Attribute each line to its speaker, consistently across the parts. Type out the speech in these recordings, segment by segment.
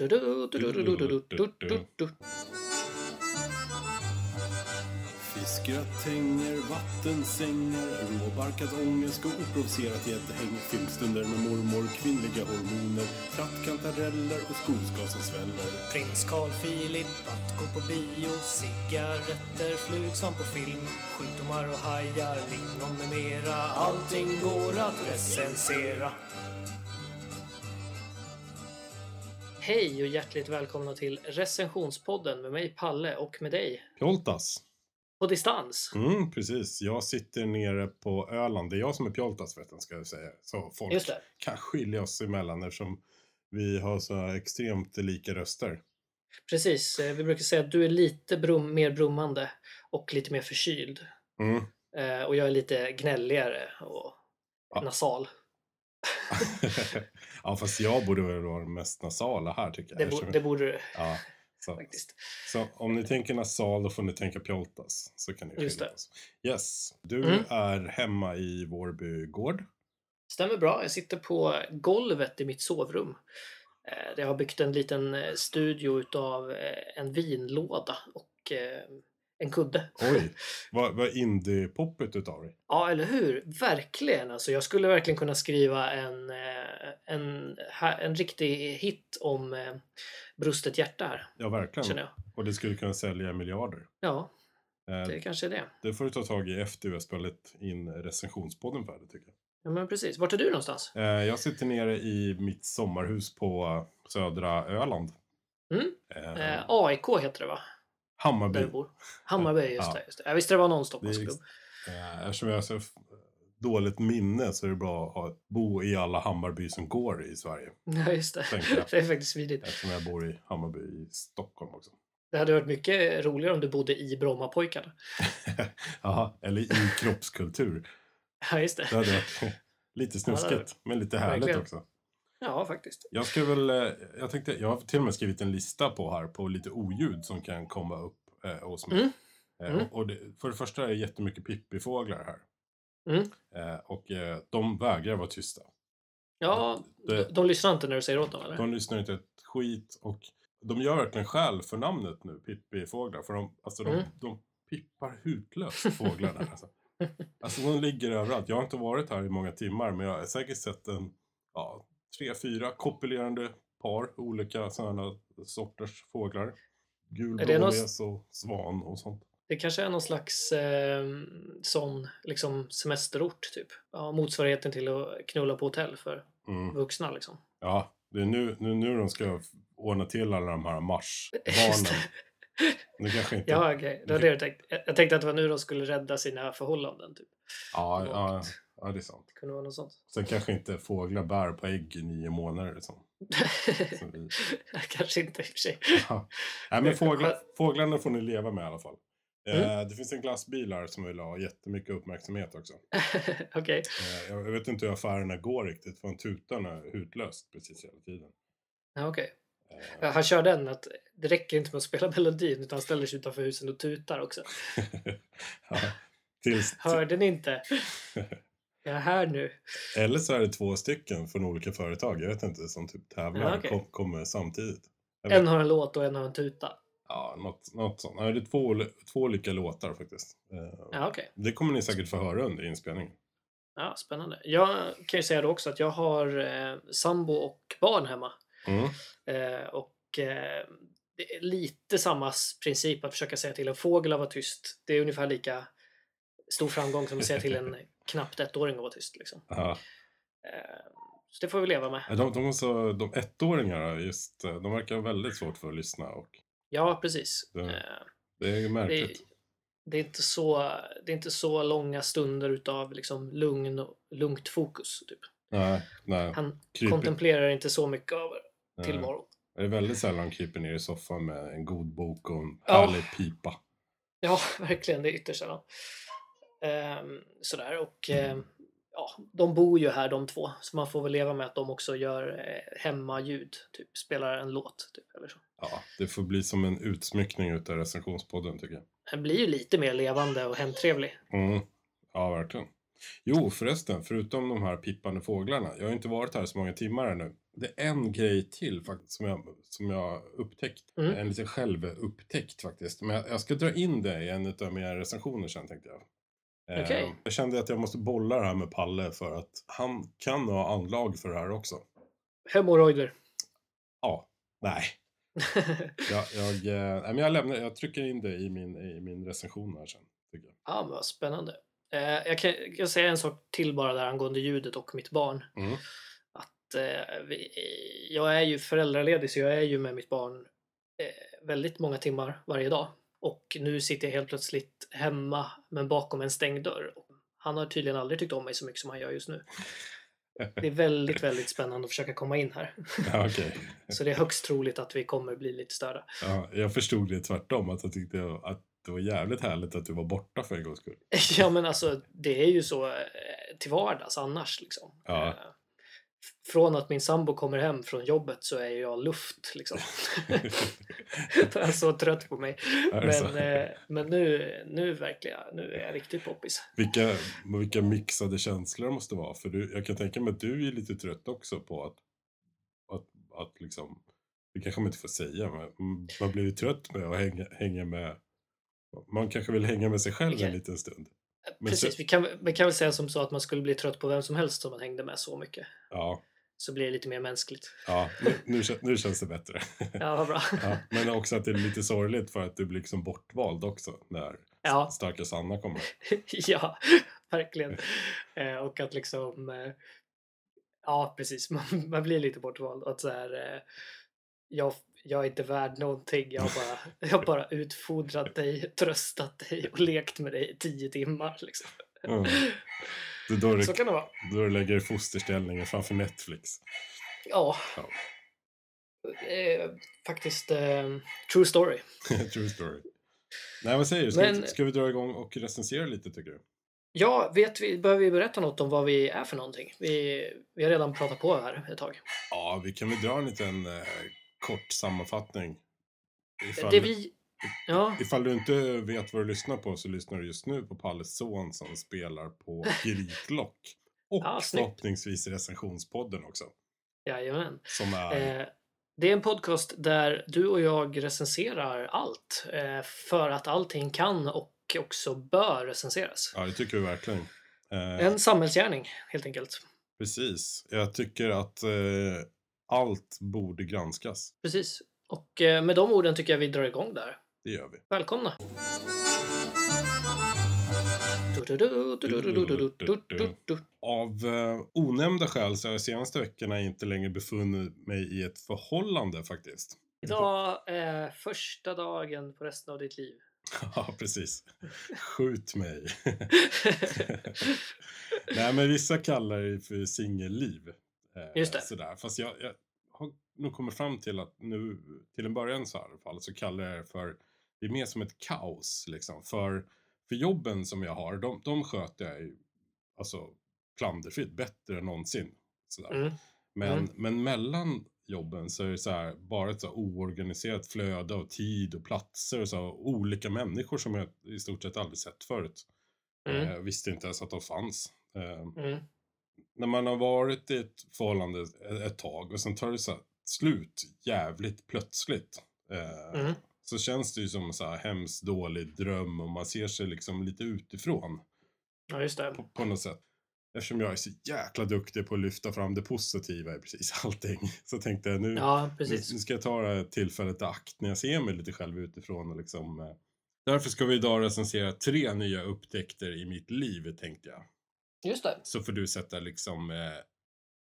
Speaker 1: Du-du-du, du-du-du-du-du, du-du-du.
Speaker 2: Fiskgröt, tänger, vattensängar, råbarkad ångest och oprovocerat gäddhäng. Filmstunder med mormor, kvinnliga hormoner, trattkantareller och skogsgas som sväller.
Speaker 3: Prins Carl Philip att gå på bio Cigaretter, flug som på film Sjukdomar och hajar, lingon med mera Allting går att recensera
Speaker 1: Hej och hjärtligt välkomna till recensionspodden med mig Palle och med dig
Speaker 2: Pjoltas.
Speaker 1: på distans.
Speaker 2: Mm, precis. Jag sitter nere på Öland. Det är jag som är Pjoltas, vet jag, ska jag säga. Så folk
Speaker 1: Just det.
Speaker 2: kan skilja oss emellan eftersom vi har så här extremt lika röster.
Speaker 1: Precis, eh, vi brukar säga att du är lite brum, mer brummande och lite mer förkyld.
Speaker 2: Mm.
Speaker 1: Eh, och jag är lite gnälligare och
Speaker 2: Ja.
Speaker 1: nasal.
Speaker 2: ja, fast jag borde väl vara den mest nasala här, tycker jag.
Speaker 1: Det, bo,
Speaker 2: Eftersom-
Speaker 1: det borde du
Speaker 2: Ja, så.
Speaker 1: faktiskt.
Speaker 2: Så om ni tänker nasal då får ni tänka pjoltas. Så kan ni skilja
Speaker 1: Just det.
Speaker 2: oss. Yes, du
Speaker 1: Mm.
Speaker 2: är hemma i Vårby gård.
Speaker 1: Stämmer bra. Jag sitter på golvet i mitt sovrum. Eh, där Jag har byggt en liten eh, studio utav eh, en vinlåda och eh, en kudde.
Speaker 2: Oj, vad, vad indie-poppet utav dig.
Speaker 1: Ja, eller hur? Verkligen. Alltså, jag skulle verkligen kunna skriva en, eh, en, ha- en riktig hit om eh, brustet hjärta här,
Speaker 2: Ja, verkligen.
Speaker 1: känner jag.
Speaker 2: Och det skulle kunna sälja miljarder.
Speaker 1: Ja,
Speaker 2: Eh,
Speaker 1: det kanske är det.
Speaker 2: Det får du ta tag i efter vi har spelat in recensionspodden färdigt tycker jag.
Speaker 1: Ja, men precis. Vart är du någonstans?
Speaker 2: Eh, Jag sitter nere i mitt sommarhus på eh, södra Öland.
Speaker 1: Mm.
Speaker 2: Eh,
Speaker 1: Eh, AIK heter det, va? Där
Speaker 2: Hammarby.
Speaker 1: du bor. Hammarby, just
Speaker 2: Ja.
Speaker 1: det. Just det. Jag visste det var någon
Speaker 2: Det är
Speaker 1: Stockholmsklubb.
Speaker 2: Eh, Eftersom jag har så f- dåligt minne så är det bra att ha- bo i alla Hammarby som går i Sverige.
Speaker 1: Ja, just det.
Speaker 2: tänker jag.
Speaker 1: Det är faktiskt smidigt.
Speaker 2: Eftersom jag bor i Hammarby i Stockholm också.
Speaker 1: Det hade varit mycket roligare om du bodde i Brommapojkarna.
Speaker 2: Jaha, eller i kroppskultur.
Speaker 1: Ja, just det.
Speaker 2: Det hade varit lite snuskigt, men lite härligt
Speaker 1: Verkligen.
Speaker 2: också.
Speaker 1: Ja, faktiskt.
Speaker 2: Jag ska väl, eh, jag tänkte, jag har till och med skrivit en lista på här på lite oljud som kan komma upp eh, hos mig.
Speaker 1: Mm.
Speaker 2: Eh,
Speaker 1: Mm.
Speaker 2: och det, för det första är det jättemycket pippifåglar här.
Speaker 1: Mm.
Speaker 2: Eh, och eh, de vägrar vara tysta.
Speaker 1: Ja,
Speaker 2: Det-
Speaker 1: de lyssnar inte när du säger åt dem, eller?
Speaker 2: De lyssnar inte ett skit och de gör verkligen skäl för namnet nu, pippifåglar. För de, alltså de,
Speaker 1: Mm.
Speaker 2: de pippar hutlöst fåglarna. Alltså. alltså de ligger överallt. Jag har inte varit här i många timmar men jag har säkert sett en, ja, tre, fyra kopulerande par olika sådana sorters fåglar. Gul
Speaker 1: Är det någon-
Speaker 2: blåmes och svan och sånt.
Speaker 1: Det kanske är någon slags eh, sån liksom semesterort, typ. Ja, motsvarigheten till att knulla på hotell för
Speaker 2: Mm.
Speaker 1: vuxna, liksom.
Speaker 2: Ja, det är nu, nu, nu de ska ordna till alla de här
Speaker 1: Just
Speaker 2: marsbarnen. Nu kanske inte...
Speaker 1: Ja, okej. Det var det jag tänkte. Jag jag tänkte att det var nu de skulle rädda sina förhållanden, typ.
Speaker 2: ja, ja,
Speaker 1: Vagt.
Speaker 2: ja, det är sant.
Speaker 1: Det kunde vara något sånt.
Speaker 2: Sen kanske inte fåglar bär på ägg i nio månader. Liksom. Så vi...
Speaker 1: kanske inte i och för sig.
Speaker 2: ja. Nej, men fåglar, fåglarna får ni leva med i alla fall.
Speaker 1: Mm.
Speaker 2: Eh, det finns en glassbil här som vill ha jättemycket uppmärksamhet också.
Speaker 1: Okej.
Speaker 2: Eh, jag jag vet inte hur affärerna går riktigt för en tutan är utlöst precis hela tiden.
Speaker 1: Ja, okej.
Speaker 2: Eh,
Speaker 1: Ja, han kör den att det räcker inte med att spela melodin utan han ställer sig utanför husen och tutar också.
Speaker 2: ja. Tills,
Speaker 1: Hörde ni inte? Jag är här nu.
Speaker 2: eller så är det två stycken från olika företag, jag vet inte, som typ tävlar
Speaker 1: Ja,
Speaker 2: och
Speaker 1: okej.
Speaker 2: kom, kommer samtidigt. Jag vet-
Speaker 1: En har en låt och en har en tuta.
Speaker 2: Ja, något, något sånt. Nej, det är två, två olika låtar faktiskt. Eh,
Speaker 1: Ja, okej.
Speaker 2: Det kommer ni säkert få höra under inspelningen.
Speaker 1: Ja, spännande. Jag kan ju säga då också att jag har eh, sambo och barn hemma.
Speaker 2: Mm.
Speaker 1: Eh, och eh, det är lite samma s- princip att försöka säga till en fågel att vara tyst. Det är ungefär lika stor framgång som att säga till en knappt ettåring att vara tyst. Liksom.
Speaker 2: Ja.
Speaker 1: Eh, så det får vi leva med.
Speaker 2: De, de, måste, de ettåringarna, just, eh, de verkar ha väldigt svårt för att lyssna. Och
Speaker 1: Ja, precis.
Speaker 2: Det-
Speaker 1: Eh,
Speaker 2: det är ju
Speaker 1: det,
Speaker 2: märkligt.
Speaker 1: det, är inte så, det är inte så långa stunder utav liksom lugn, och- lugnt fokus. Typ.
Speaker 2: Nej, nej.
Speaker 1: Han
Speaker 2: Kryper,
Speaker 1: kontemplerar inte så mycket av
Speaker 2: nej.
Speaker 1: tillvaron.
Speaker 2: Det är väldigt sällan de kryper ner i soffan med en god bok och en
Speaker 1: Ja.
Speaker 2: härlig pipa.
Speaker 1: Ja, verkligen. Det är ytterst sällan. Ehm, sådär. Och, ehm, ja, de bor ju här de två, så man får väl leva med att de också gör eh, hemmaljud. Typ, spelar en låt. Typ, eller så.
Speaker 2: Ja, det får bli som en utsmyckning utav recensionspodden tycker jag.
Speaker 1: Den blir ju lite mer levande och hemtrevlig.
Speaker 2: Mm. Ja, verkligen. Jo, förresten, förutom de här pippande fåglarna. Jag har ju inte varit här så många timmar ännu. Det är en grej till faktiskt som jag, som jag upptäckt.
Speaker 1: Mm.
Speaker 2: En liten självupptäckt faktiskt. Men jag, jag ska dra in det i en av mina recensioner sen tänkte jag. Eh,
Speaker 1: Okej.
Speaker 2: Jag kände att jag måste bolla det här med Palle för att han kan ha anlag för det här också.
Speaker 1: Hemorrojder.
Speaker 2: Nej, jag, jag, eh, nej, men jag, lämnar, jag trycker in det i min, i min recension här sen. Tycker jag.
Speaker 1: Ja, men vad spännande. Eh, jag kan, jag kan säga en sak till bara där angående ljudet och mitt barn.
Speaker 2: Mm.
Speaker 1: Att, eh, vi, jag är ju föräldraledig så jag är ju med mitt barn eh, väldigt många timmar varje dag. Och nu sitter jag helt plötsligt hemma men bakom en stängd dörr. Han har tydligen aldrig tyckt om mig så mycket som han gör just nu. Det är väldigt, väldigt spännande att försöka komma in här.
Speaker 2: Ja, okej.
Speaker 1: Så det är högst troligt att vi kommer bli lite störda.
Speaker 2: ja, jag förstod det tvärtom. Att jag tyckte att det var jävligt härligt att du var borta för en gångs skull.
Speaker 1: Ja men alltså det är ju så eh, till vardags annars liksom.
Speaker 2: Ja.
Speaker 1: Eh, f- Från att min sambo kommer hem från jobbet så är jag luft liksom. Han är så trött på mig.
Speaker 2: Är det så?
Speaker 1: Men, eh, men nu, nu verkligen, nu är jag riktigt poppis.
Speaker 2: Vilka, vilka mixade känslor det måste vara. För du, jag kan tänka mig att du är lite trött också på att, att, att liksom, det kanske man inte får säga, men man blir ju trött med att hänga, hänga med, man kanske vill hänga med sig själv en
Speaker 1: Vilka-
Speaker 2: liten stund. Men så-
Speaker 1: Precis, vi kan, vi kan väl säga som så att man skulle bli trött på vem som helst som man hängde med så mycket.
Speaker 2: Ja,
Speaker 1: Så blir det lite mer mänskligt.
Speaker 2: ja nu, nu, kän- nu känns det bättre.
Speaker 1: Ja, vad bra.
Speaker 2: Ja, men också att det är lite sorgligt för att du blir liksom bortvald också när
Speaker 1: Ja,
Speaker 2: starka Sanna kommer.
Speaker 1: ja verkligen. Eh, och att liksom... Eh, ja, precis. Man, man blir lite bortvald. Och Att så här, eh, jag, jag är inte värd någonting. Jag har bara, jag har bara utfodrat dig, tröstat dig och lekt med dig i tio timmar. Liksom.
Speaker 2: Mm. Det är då
Speaker 1: Så
Speaker 2: du,
Speaker 1: kan det vara.
Speaker 2: då du lägger i fosterställningen framför Netflix.
Speaker 1: Ja.
Speaker 2: Ja.
Speaker 1: Eh, faktiskt eh, true story.
Speaker 2: True story. Nej, vad säger du? Ska,
Speaker 1: Men-
Speaker 2: vi, ska vi dra igång och recensera lite tycker du?
Speaker 1: Ja, vet vi, behöver vi berätta något om vad vi är för någonting? Vi, vi har redan pratat på här ett tag.
Speaker 2: Ja, vi kan väl dra en liten eh, kort sammanfattning. Ifall,
Speaker 1: Det vi... Ja,
Speaker 2: ifall du inte vet vad du lyssnar på så lyssnar du just nu på Palles son som spelar på Grytlock. Och
Speaker 1: Ja, snyggt.
Speaker 2: förhoppningsvis recensionspodden också.
Speaker 1: jajamän.
Speaker 2: Som är...
Speaker 1: Eh, det är en podcast där du och jag recenserar allt. Eh, för att allting kan och också bör recenseras.
Speaker 2: Ja, det tycker vi verkligen. Eh,
Speaker 1: En samhällsgärning, helt enkelt.
Speaker 2: Precis. Jag tycker att eh, allt borde granskas.
Speaker 1: Precis. Och eh, med de orden tycker jag vi drar igång där.
Speaker 2: Det gör vi.
Speaker 1: Välkomna! Du-du-du-du-du-du-du-du-du-du-du-du.
Speaker 2: Av eh, onämnda skäl så har jag senaste veckorna inte längre befunnit mig i ett förhållande faktiskt.
Speaker 1: Idag är första dagen på resten av ditt liv.
Speaker 2: Ja, precis. Skjut mig. Nej, men vissa kallar det för singelliv. Eh,
Speaker 1: Just det.
Speaker 2: Sådär. Fast jag, jag har nog kommit fram till att nu, till en början så här i alla fall, så kallar jag det för, det är mer som ett kaos liksom. För, för jobben som jag har, de, de sköter jag ju, alltså klanderfritt bättre än någonsin. Sådär.
Speaker 1: Mm.
Speaker 2: Men,
Speaker 1: Mm.
Speaker 2: men mellan jobben så är det så här, bara ett så här oorganiserat flöde av tid och platser och så här, olika människor som jag i stort sett aldrig sett förut.
Speaker 1: Mm.
Speaker 2: Eh, visste inte ens att de fanns. Eh,
Speaker 1: Mm.
Speaker 2: när man har varit i ett förhållande ett, ett tag och sen tar det så här, slut jävligt plötsligt. Eh,
Speaker 1: Mm.
Speaker 2: Så känns det ju som en så här hemskt dålig dröm och man ser sig liksom lite utifrån
Speaker 1: Ja, just det.
Speaker 2: på, på något sätt. Eftersom jag är så jäkla duktig på att lyfta fram det positiva i precis allting. Så tänkte jag nu,
Speaker 1: Ja,
Speaker 2: nu,
Speaker 1: precis.
Speaker 2: nu ska jag ta det här tillfället i akt när jag ser mig lite själv utifrån. Och liksom, eh. Därför ska vi idag recensera tre nya upptäckter i mitt liv tänkte jag.
Speaker 1: Just det.
Speaker 2: Så får du sätta liksom eh,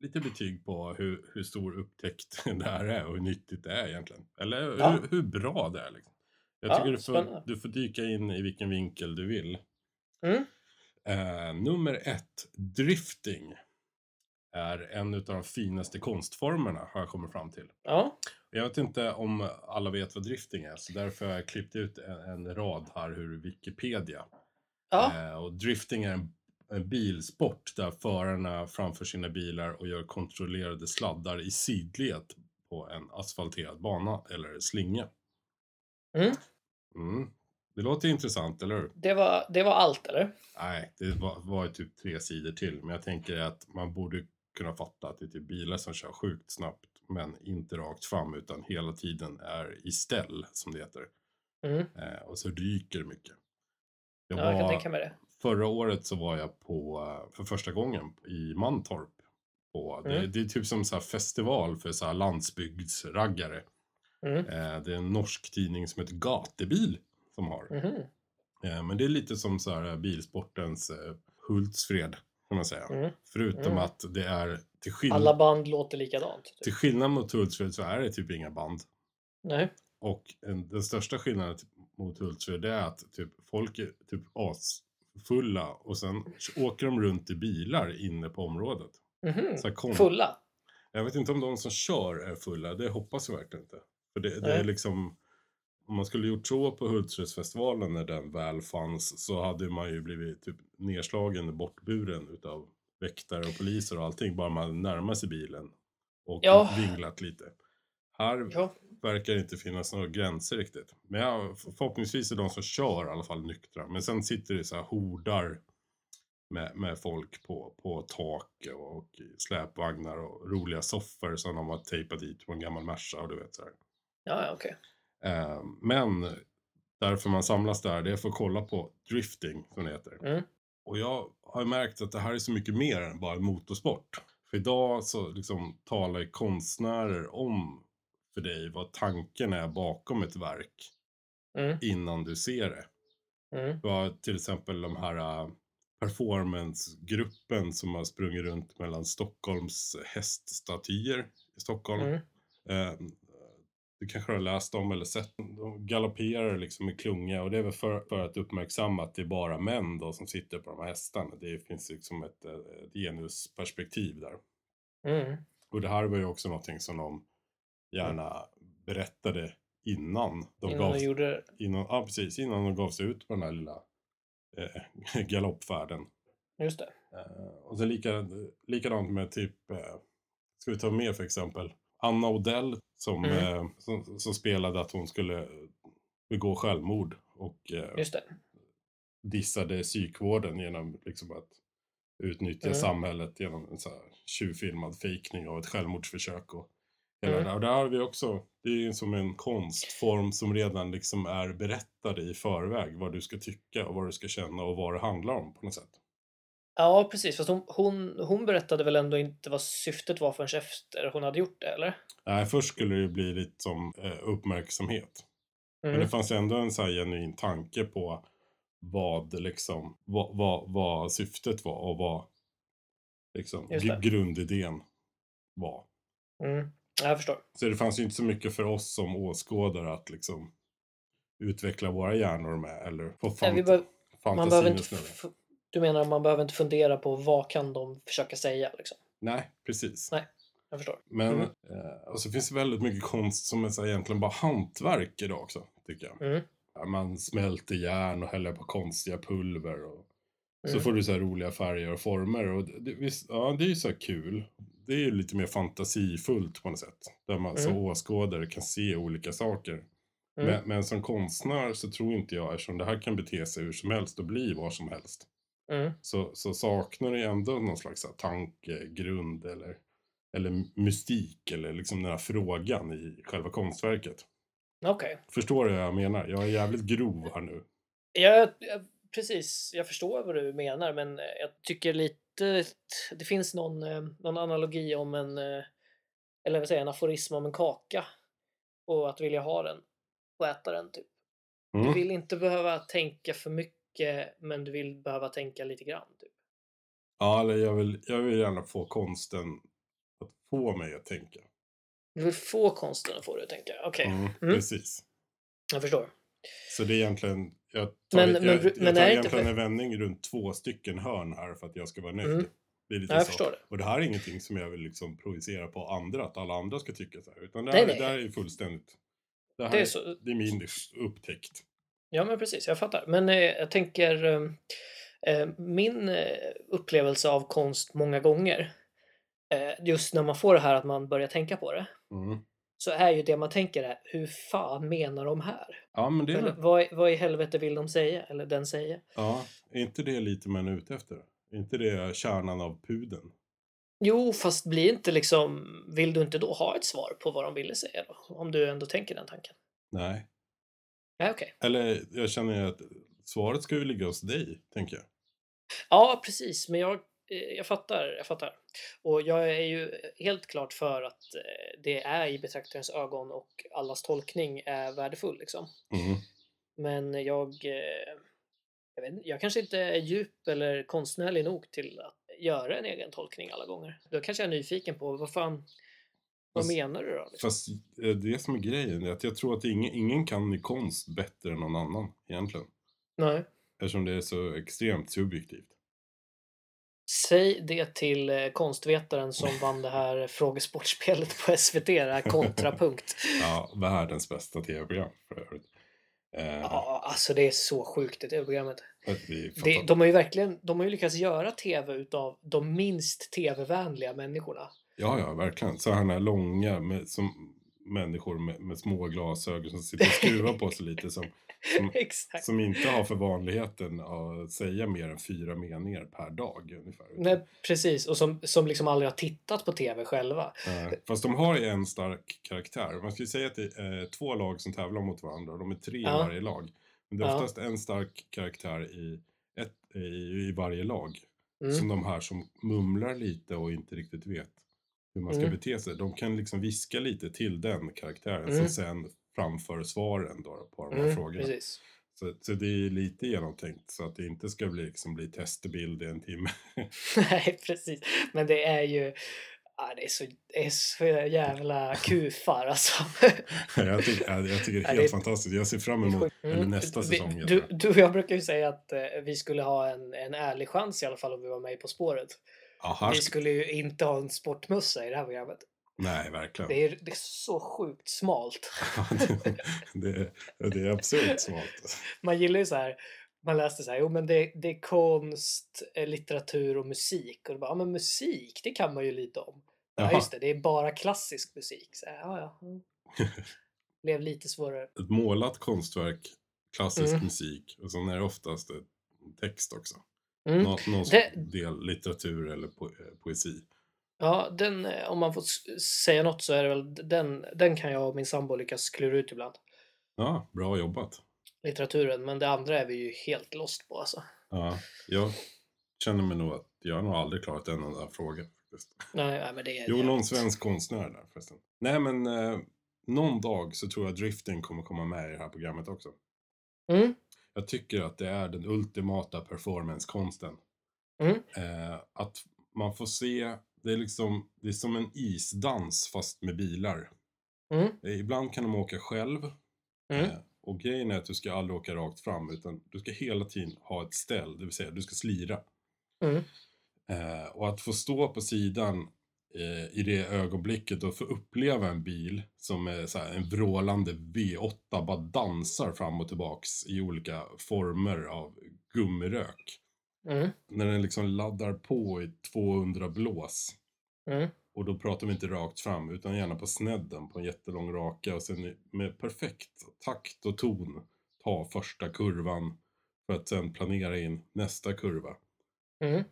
Speaker 2: lite betyg på hur, hur stor upptäckt det här är och hur nyttigt det är egentligen. Eller
Speaker 1: Ja.
Speaker 2: hur, hur bra det är. Liksom. Jag
Speaker 1: Ja,
Speaker 2: tycker du
Speaker 1: spännande.
Speaker 2: får, du får dyka in i vilken vinkel du vill.
Speaker 1: Mm.
Speaker 2: Eh, nummer ett, drifting är en av de finaste konstformerna har jag kommit fram till.
Speaker 1: Ja.
Speaker 2: Jag vet inte om alla vet vad drifting är, så därför har jag klippt ut en, en rad här ur Wikipedia.
Speaker 1: Ja.
Speaker 2: Eh, och drifting är en, en bilsport där förarna framför sina bilar och gör kontrollerade sladdar i sidled på en asfalterad bana eller slinga.
Speaker 1: Mm.
Speaker 2: Mm. Det låter intressant, eller hur?
Speaker 1: Det var, det var allt, eller?
Speaker 2: Nej, det var, var ju typ tre sidor till, men jag tänker att man borde kunna fatta att det är typ bilar som kör sjukt snabbt men inte rakt fram utan hela tiden är i ställ som det heter.
Speaker 1: Mm.
Speaker 2: Eh, och så ryker det mycket. Jag
Speaker 1: Ja, jag kan
Speaker 2: var,
Speaker 1: tänka mig det.
Speaker 2: förra året så var jag på, eh, för första gången i Mantorp. På, det,
Speaker 1: Mm.
Speaker 2: det är typ som så här festival för så här landsbygdsraggare.
Speaker 1: Mm.
Speaker 2: Eh, det är en norsk tidning som heter Gatebil som har.
Speaker 1: Mhm.
Speaker 2: Eh, Men det är lite som så här bilsportens eh, Hultsfred kan man säga.
Speaker 1: Mm.
Speaker 2: Förutom
Speaker 1: Mm.
Speaker 2: att det är till, skill-
Speaker 1: Alla band låter likadant. Typ.
Speaker 2: till skillnad mot Hultsfred så är det typ inga band.
Speaker 1: Nej.
Speaker 2: Och en, den största skillnaden t- mot Hultsfred det är att typ, folk är typ asfulla och sen åker de runt i bilar inne på området.
Speaker 1: Mhm.
Speaker 2: Så här, kom,
Speaker 1: Fulla.
Speaker 2: Jag vet inte om de som kör är fulla, det hoppas jag verkligen inte. För det, det
Speaker 1: Nej.
Speaker 2: är liksom, om man skulle gjort så på Hultsfredsfestivalen när den väl fanns så hade man ju blivit typ nedslagen och bortburen utav väktare och poliser och allting, bara man närmar sig bilen och
Speaker 1: Ja.
Speaker 2: vinglat lite. Här
Speaker 1: Ja.
Speaker 2: verkar det inte finnas några gränser riktigt. Men ja, förhoppningsvis är de som kör i alla fall nyktra. Men sen sitter det så här hordar med, med folk på, på tak och i släpvagnar och roliga soffor som de har tejpat dit på en gammal Merca och du vet så här.
Speaker 1: Ja, ja, okej.
Speaker 2: Eh, men därför man samlas där, det är för att kolla på drifting som det heter.
Speaker 1: Mm.
Speaker 2: Och jag har ju märkt att det här är så mycket mer än bara motorsport. För idag så liksom talar ju konstnärer om för dig vad tanken är bakom ett verk
Speaker 1: Mm.
Speaker 2: innan du ser det.
Speaker 1: Mm.
Speaker 2: Det var till exempel de här eh, performancegruppen som har sprungit runt mellan Stockholms häststatyer i Stockholm.
Speaker 1: Mm.
Speaker 2: Eh, du kanske har läst om eller sett. De galopperar liksom i klunga och det är väl för, för att uppmärksamma att det är bara män då som sitter på de här hästarna. Det finns liksom ett, eh, ett genusperspektiv där.
Speaker 1: Mm.
Speaker 2: Och det här var ju också någonting som de gärna berättade innan de
Speaker 1: Innan
Speaker 2: gav
Speaker 1: de gjorde det.
Speaker 2: innan, ja, precis, innan de gav sig ut på den här lilla eh, galoppfärden.
Speaker 1: Just det.
Speaker 2: Eh, och sen lika, likadant med typ, eh, ska vi ta med för exempel, Anna Odell som,
Speaker 1: Mm.
Speaker 2: eh, som, som spelade att hon skulle begå självmord och eh,
Speaker 1: Just det.
Speaker 2: dissade psykvården genom liksom att utnyttja
Speaker 1: Mm.
Speaker 2: samhället genom en så här tjuvfilmad fejkning av ett självmordsförsök och hela
Speaker 1: Mm.
Speaker 2: det där. Och där har vi också, det är ju som en konstform som redan liksom är berättad i förväg vad du ska tycka och vad du ska känna och vad det handlar om på något sätt.
Speaker 1: Ja, precis. Fast hon, hon, hon berättade väl ändå inte vad syftet var förrän efter hon hade gjort det, eller?
Speaker 2: Nej, först skulle det ju bli lite som eh, uppmärksamhet. Men
Speaker 1: Mm.
Speaker 2: det fanns ju ändå en så här genuin tanke på vad liksom, vad, vad, vad syftet var och vad liksom
Speaker 1: Just
Speaker 2: gr-
Speaker 1: det.
Speaker 2: grundidén var.
Speaker 1: Mm. Ja, Jag förstår.
Speaker 2: Så det fanns ju inte så mycket för oss som åskådare att liksom utveckla våra hjärnor med eller få
Speaker 1: Nej, vi
Speaker 2: fant-
Speaker 1: behöver- man behöver
Speaker 2: fantasin liksom. att
Speaker 1: inte
Speaker 2: snurra.
Speaker 1: f- du menar man behöver inte fundera på vad kan de försöka säga? Liksom.
Speaker 2: Nej, precis.
Speaker 1: Nej. Jag förstår.
Speaker 2: Men,
Speaker 1: Mm.
Speaker 2: eh, och så finns det väldigt mycket konst som är så här, egentligen bara hantverk idag också, tycker jag.
Speaker 1: Mm.
Speaker 2: Ja, Man smälter järn och häller på konstiga pulver och så
Speaker 1: Mm.
Speaker 2: får du så här roliga färger och former. Och det, det- visst, ja, det är ju så här kul. Det är ju lite mer fantasifullt på något sätt. Där man som
Speaker 1: Mm.
Speaker 2: åskådare kan se olika saker.
Speaker 1: Mm.
Speaker 2: Men, men som konstnär så tror inte jag, eftersom det här kan bete sig hur som helst och bli vad som helst,
Speaker 1: Mm.
Speaker 2: så, så saknar det ändå någon slags så här tankegrund eller, eller mystik eller liksom den här frågan i själva konstverket.
Speaker 1: Okej.
Speaker 2: Förstår du vad jag menar? Jag är jävligt grov här nu.
Speaker 1: Jag, jag, precis, jag förstår vad du menar men eh, jag tycker lite det finns någon, eh, någon analogi om en eh, eller vad säger jag, en aforism om en kaka och att vilja ha den och äta den typ. Du
Speaker 2: Mm.
Speaker 1: vill inte behöva tänka för mycket men du vill behöva tänka lite grann. Typ.
Speaker 2: Ja, eller jag vill, jag vill gärna få konsten att få mig att tänka.
Speaker 1: Du vill få konsten att få dig att tänka. Okej,
Speaker 2: Mm,
Speaker 1: Mm.
Speaker 2: Precis.
Speaker 1: jag förstår.
Speaker 2: Så det är egentligen, jag tar,
Speaker 1: Men-
Speaker 2: jag,
Speaker 1: men- men är
Speaker 2: jag,
Speaker 1: det
Speaker 2: tar
Speaker 1: inte
Speaker 2: egentligen
Speaker 1: för-
Speaker 2: en vändning runt två stycken hörn här för att jag ska vara nöjd.
Speaker 1: Mm.
Speaker 2: Det är lite
Speaker 1: Ja, jag
Speaker 2: så.
Speaker 1: förstår det.
Speaker 2: Och det här är ingenting som jag vill liksom projicera på andra, att alla andra ska tycka så här. Utan det här,
Speaker 1: Nej, nej.
Speaker 2: Det här är ju fullständigt, det här
Speaker 1: Det är
Speaker 2: är,
Speaker 1: så-
Speaker 2: det är min upptäckt.
Speaker 1: Ja, men precis. Jag fattar. Men eh, jag tänker eh, eh, min eh, upplevelse av konst många gånger eh, just när man får det här att man börjar tänka på det
Speaker 2: Mm.
Speaker 1: så är ju det man tänker är hur fan menar de här?
Speaker 2: Ja, men det
Speaker 1: Eller,
Speaker 2: är,
Speaker 1: vad, vad i helvete vill de säga? Eller den säga?
Speaker 2: ja, är inte det lite man är ute efter? Är inte det kärnan av pudeln?
Speaker 1: Jo, fast blir inte liksom, vill du inte då ha ett svar på vad de ville säga då? Om du ändå tänker den tanken?
Speaker 2: Nej.
Speaker 1: Nej, okej.
Speaker 2: Eller jag känner ju att svaret ska ju ligga hos dig, tänker jag.
Speaker 1: Ja, precis, men jag, eh, jag fattar, jag fattar. Och jag är ju helt klart för att eh, det är i betraktarens ögon och allas tolkning är värdefull liksom.
Speaker 2: Mm.
Speaker 1: Men jag, eh, jag, vet, inte, jag kanske inte är djup eller konstnärlig nog till att göra en egen tolkning alla gånger. Då kanske jag är nyfiken på vad fan, vad
Speaker 2: Fast-
Speaker 1: menar du då? Liksom?
Speaker 2: Fast eh, det som är grejen är att jag tror att ingen, ingen kan ju konst bättre än någon annan egentligen.
Speaker 1: Nej.
Speaker 2: Eftersom det är så extremt subjektivt.
Speaker 1: Säg det till eh, konstvetaren som vann det här frågesportspelet på SVT, det här kontrapunkt.
Speaker 2: Ja, världens bästa tv-program för övrigt. Eh,
Speaker 1: Ja, alltså det är så sjukt det programmet.
Speaker 2: att vi fattar-
Speaker 1: Det, de har ju verkligen de har ju lyckats göra tv utav de minst tv-vänliga människorna.
Speaker 2: Ja, ja, verkligen. Så här långa med, som människor med, med små glasögon som sitter och skruvar på sig lite. Som, som,
Speaker 1: Exakt.
Speaker 2: som inte har för vanligheten att säga mer än fyra meningar per dag ungefär.
Speaker 1: Nej, precis, och som, som liksom aldrig har tittat på tv själva.
Speaker 2: Eh, Fast de har ju en stark karaktär. Man skulle säga att det är eh, två lag som tävlar mot varandra. De är tre i
Speaker 1: Ja.
Speaker 2: varje lag. Men det är
Speaker 1: Ja.
Speaker 2: oftast en stark karaktär i, ett, i, i varje lag. Som
Speaker 1: Mm.
Speaker 2: de här som mumlar lite och inte riktigt vet hur man ska
Speaker 1: Mm.
Speaker 2: bete sig. De kan liksom viska lite till den karaktären
Speaker 1: Mm.
Speaker 2: som sen framför svaren då på de här
Speaker 1: Mm,
Speaker 2: frågorna.
Speaker 1: precis.
Speaker 2: Så, så det är lite genomtänkt så att det inte ska bli, liksom, bli testbild i en timme.
Speaker 1: Nej, precis. Men det är ju... Ja, det, är så, det är så jävla kufar alltså.
Speaker 2: jag, tycker, jag, jag tycker
Speaker 1: Ja,
Speaker 2: det är
Speaker 1: det är-
Speaker 2: helt fantastiskt. Jag ser fram emot
Speaker 1: Mm.
Speaker 2: eller nästa
Speaker 1: Vi-
Speaker 2: säsong. heter
Speaker 1: Du,
Speaker 2: det.
Speaker 1: du och jag brukar ju säga att eh, vi skulle ha en, en ärlig chans i alla fall om vi var med På spåret.
Speaker 2: Ja, här
Speaker 1: Vi
Speaker 2: ska-
Speaker 1: skulle ju inte ha en sportmössa i det här programmet.
Speaker 2: Nej, verkligen.
Speaker 1: Det är, det är så sjukt smalt.
Speaker 2: det, är- det är absurt smalt.
Speaker 1: Man gillar ju så här, man läste så här, jo men det, det är konst, eh, litteratur och musik. Och då bara, ja men musik, det kan man ju lite om. Ja just det, det är bara klassisk musik. Så här, ja, ja. mm. Blev lite svårare.
Speaker 2: Ett målat konstverk, klassisk
Speaker 1: Mm.
Speaker 2: musik och sen är det oftast ett text också.
Speaker 1: Mm.
Speaker 2: Nå, någon
Speaker 1: Det-
Speaker 2: del litteratur eller po eh, poesi.
Speaker 1: Ja, den, eh, om man får s- säga något så är det väl d- den, den kan jag och min sambo lyckas klura ut ibland.
Speaker 2: Ja, bra jobbat.
Speaker 1: Litteraturen, men det andra är vi ju helt lost på alltså.
Speaker 2: Ja, jag känner mig nog att jag har nog aldrig klarat en enda fråga. Faktiskt.
Speaker 1: Nej, nej men det är
Speaker 2: Jo, någon
Speaker 1: jävligt.
Speaker 2: svensk konstnär där förresten. Nej, men eh, någon dag så tror jag drifting kommer komma med i det här programmet också.
Speaker 1: Mm.
Speaker 2: Jag tycker att det är den ultimata performancekonsten.
Speaker 1: Mm.
Speaker 2: Eh, att man får se, det är liksom, det är som en isdans fast med bilar.
Speaker 1: Mm.
Speaker 2: Eh, ibland kan de åka själv.
Speaker 1: Mm.
Speaker 2: Eh, och grejen är att du ska aldrig åka rakt fram utan du ska hela tiden ha ett ställ, det vill säga du ska slira.
Speaker 1: Mm.
Speaker 2: Eh, och att få stå på sidan eh, i det ögonblicket och få uppleva en bil som är så här, en vrålande V8 bara dansar fram och tillbaks i olika former av gummirök.
Speaker 1: Mm.
Speaker 2: När den liksom laddar på i 200 blås.
Speaker 1: Mm.
Speaker 2: Och då pratar vi inte rakt fram utan gärna på snedden på en jättelång raka och sen med perfekt takt och ton ta första kurvan för att sen planera in nästa kurva.
Speaker 1: Mm.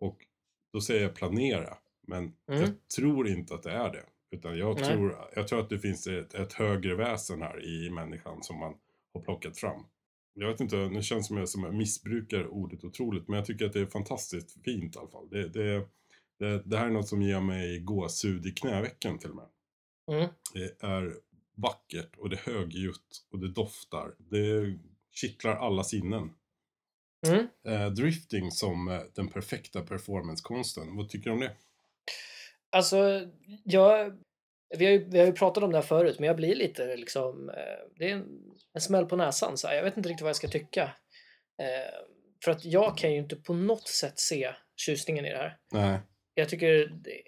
Speaker 2: Och då säger jag planera, men
Speaker 1: Mm.
Speaker 2: jag tror inte att det är det. Utan jag
Speaker 1: Nej.
Speaker 2: tror, jag tror att det finns ett, ett högre väsen här i människan som man har plockat fram. Jag vet inte, nu känns det som jag som missbrukar ordet otroligt, men jag tycker att det är fantastiskt fint i alla fall. Det, det, det, det här är något som ger mig gåshud i knävecken till och med.
Speaker 1: Mm.
Speaker 2: Det är vackert och det är högljutt och det doftar. Det kittlar alla sinnen.
Speaker 1: Mm.
Speaker 2: Eh, drifting som eh, den perfekta performancekonsten. Vad tycker du om det?
Speaker 1: Alltså, jag... Vi har, ju, vi har ju pratat om det här förut, men jag blir lite liksom... eh, Det är en, en smäll på näsan. Så här. Jag vet inte riktigt vad jag ska tycka. Eh, för att jag kan ju inte på något sätt se tjusningen i det här.
Speaker 2: Nej.
Speaker 1: Jag tycker... Det,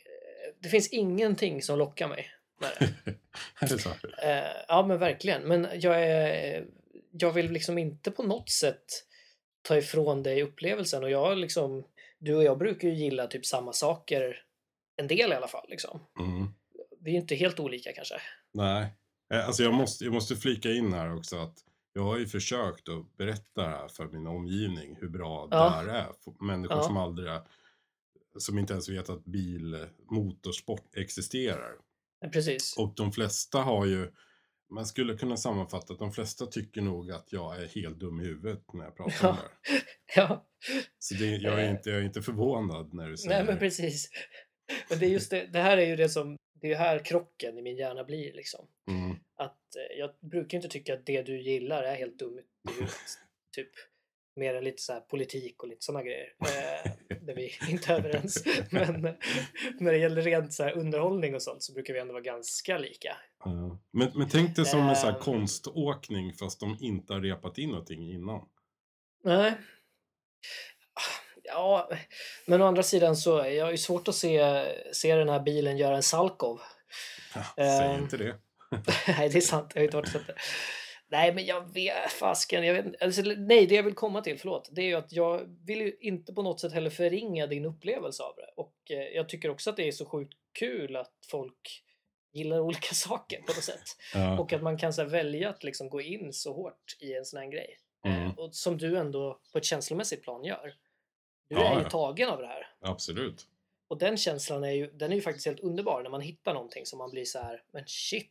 Speaker 1: det finns ingenting som lockar mig. Med det.
Speaker 2: Är det så?
Speaker 1: Eh, ja, men verkligen. Men jag, är, jag vill liksom inte på något sätt ta ifrån dig upplevelsen. Och jag liksom, du och jag brukar ju gilla typ samma saker, en del i alla fall. Liksom.
Speaker 2: Mm.
Speaker 1: Vi är ju inte helt olika kanske.
Speaker 2: Nej. Eh, Alltså jag måste, jag måste flika in här också att jag har ju försökt att berätta det här för min omgivning hur bra
Speaker 1: Ja.
Speaker 2: det här är. F- Människor
Speaker 1: Ja.
Speaker 2: som aldrig som inte ens vet att bilmotorsport existerar.
Speaker 1: Ja, Precis.
Speaker 2: Och de flesta har ju, man skulle kunna sammanfatta att de flesta tycker nog att jag är helt dum i huvudet när jag pratar
Speaker 1: Ja.
Speaker 2: om det här.
Speaker 1: Ja,
Speaker 2: Så det, jag, är
Speaker 1: Eh.
Speaker 2: inte, jag är inte förvånad när du säger
Speaker 1: nej men
Speaker 2: det.
Speaker 1: precis. Men det är just det, det här är ju det som, det är ju här krocken i min hjärna blir liksom.
Speaker 2: Mm.
Speaker 1: Att eh, jag brukar ju inte tycka att det du gillar är helt dumt i huvudet. typ. Mer än lite så här politik och lite sådana grejer. Eh, där vi inte är överens. Men eh, när det gäller rent så här underhållning och sånt så brukar vi ändå vara ganska lika.
Speaker 2: Ja. Men, men tänk dig som en sån här
Speaker 1: Ehm.
Speaker 2: konståkning fast de inte har repat in någonting innan.
Speaker 1: Nej. Ja, men å andra sidan så är jag ju svårt att se, se den här bilen göra en Salkov.
Speaker 2: Säg
Speaker 1: Ehm.
Speaker 2: inte det.
Speaker 1: nej, det är sant. Jag har inte varit så att- Nej, men jag vet fasken. Jag vet, alltså, nej, det jag vill komma till, förlåt, det är ju att jag vill ju inte på något sätt heller förringa din upplevelse av det. Och eh, jag tycker också att det är så sjukt kul att folk gillar olika saker på något sätt.
Speaker 2: Ja.
Speaker 1: Och att man kan så här, välja att liksom gå in så hårt i en sån här grej.
Speaker 2: Mm.
Speaker 1: Eh, och som du ändå på ett känslomässigt plan gör. Du
Speaker 2: Ja,
Speaker 1: är ju
Speaker 2: ja.
Speaker 1: tagen av det här.
Speaker 2: Absolut.
Speaker 1: Och den känslan är ju, den är ju faktiskt helt underbar när man hittar någonting som man blir så här, men shit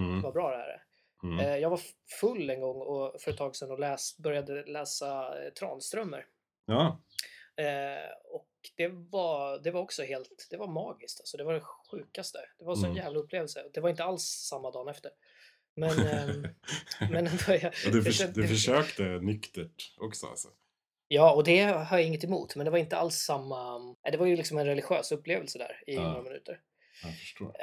Speaker 2: Mm.
Speaker 1: vad bra det här är.
Speaker 2: Mm.
Speaker 1: Eh, Jag var full en gång och för ett tag sedan och läs, började läsa eh, Tranströmer.
Speaker 2: Ja.
Speaker 1: Eh, och det var, det var också helt, det var magiskt alltså. Det var det sjukaste. Det var så en
Speaker 2: Mm.
Speaker 1: jävla upplevelse. Det var inte alls samma dagen efter. Men, ehm, men ändå, jag,
Speaker 2: Ja, du,
Speaker 1: jag
Speaker 2: förs-
Speaker 1: kände-
Speaker 2: du försökte nyktert också alltså.
Speaker 1: Ja, och det har jag inget emot. Men det var inte alls samma, nej, det var ju liksom en religiös upplevelse där i
Speaker 2: Ja.
Speaker 1: några minuter.
Speaker 2: Jag förstår.
Speaker 1: Eh,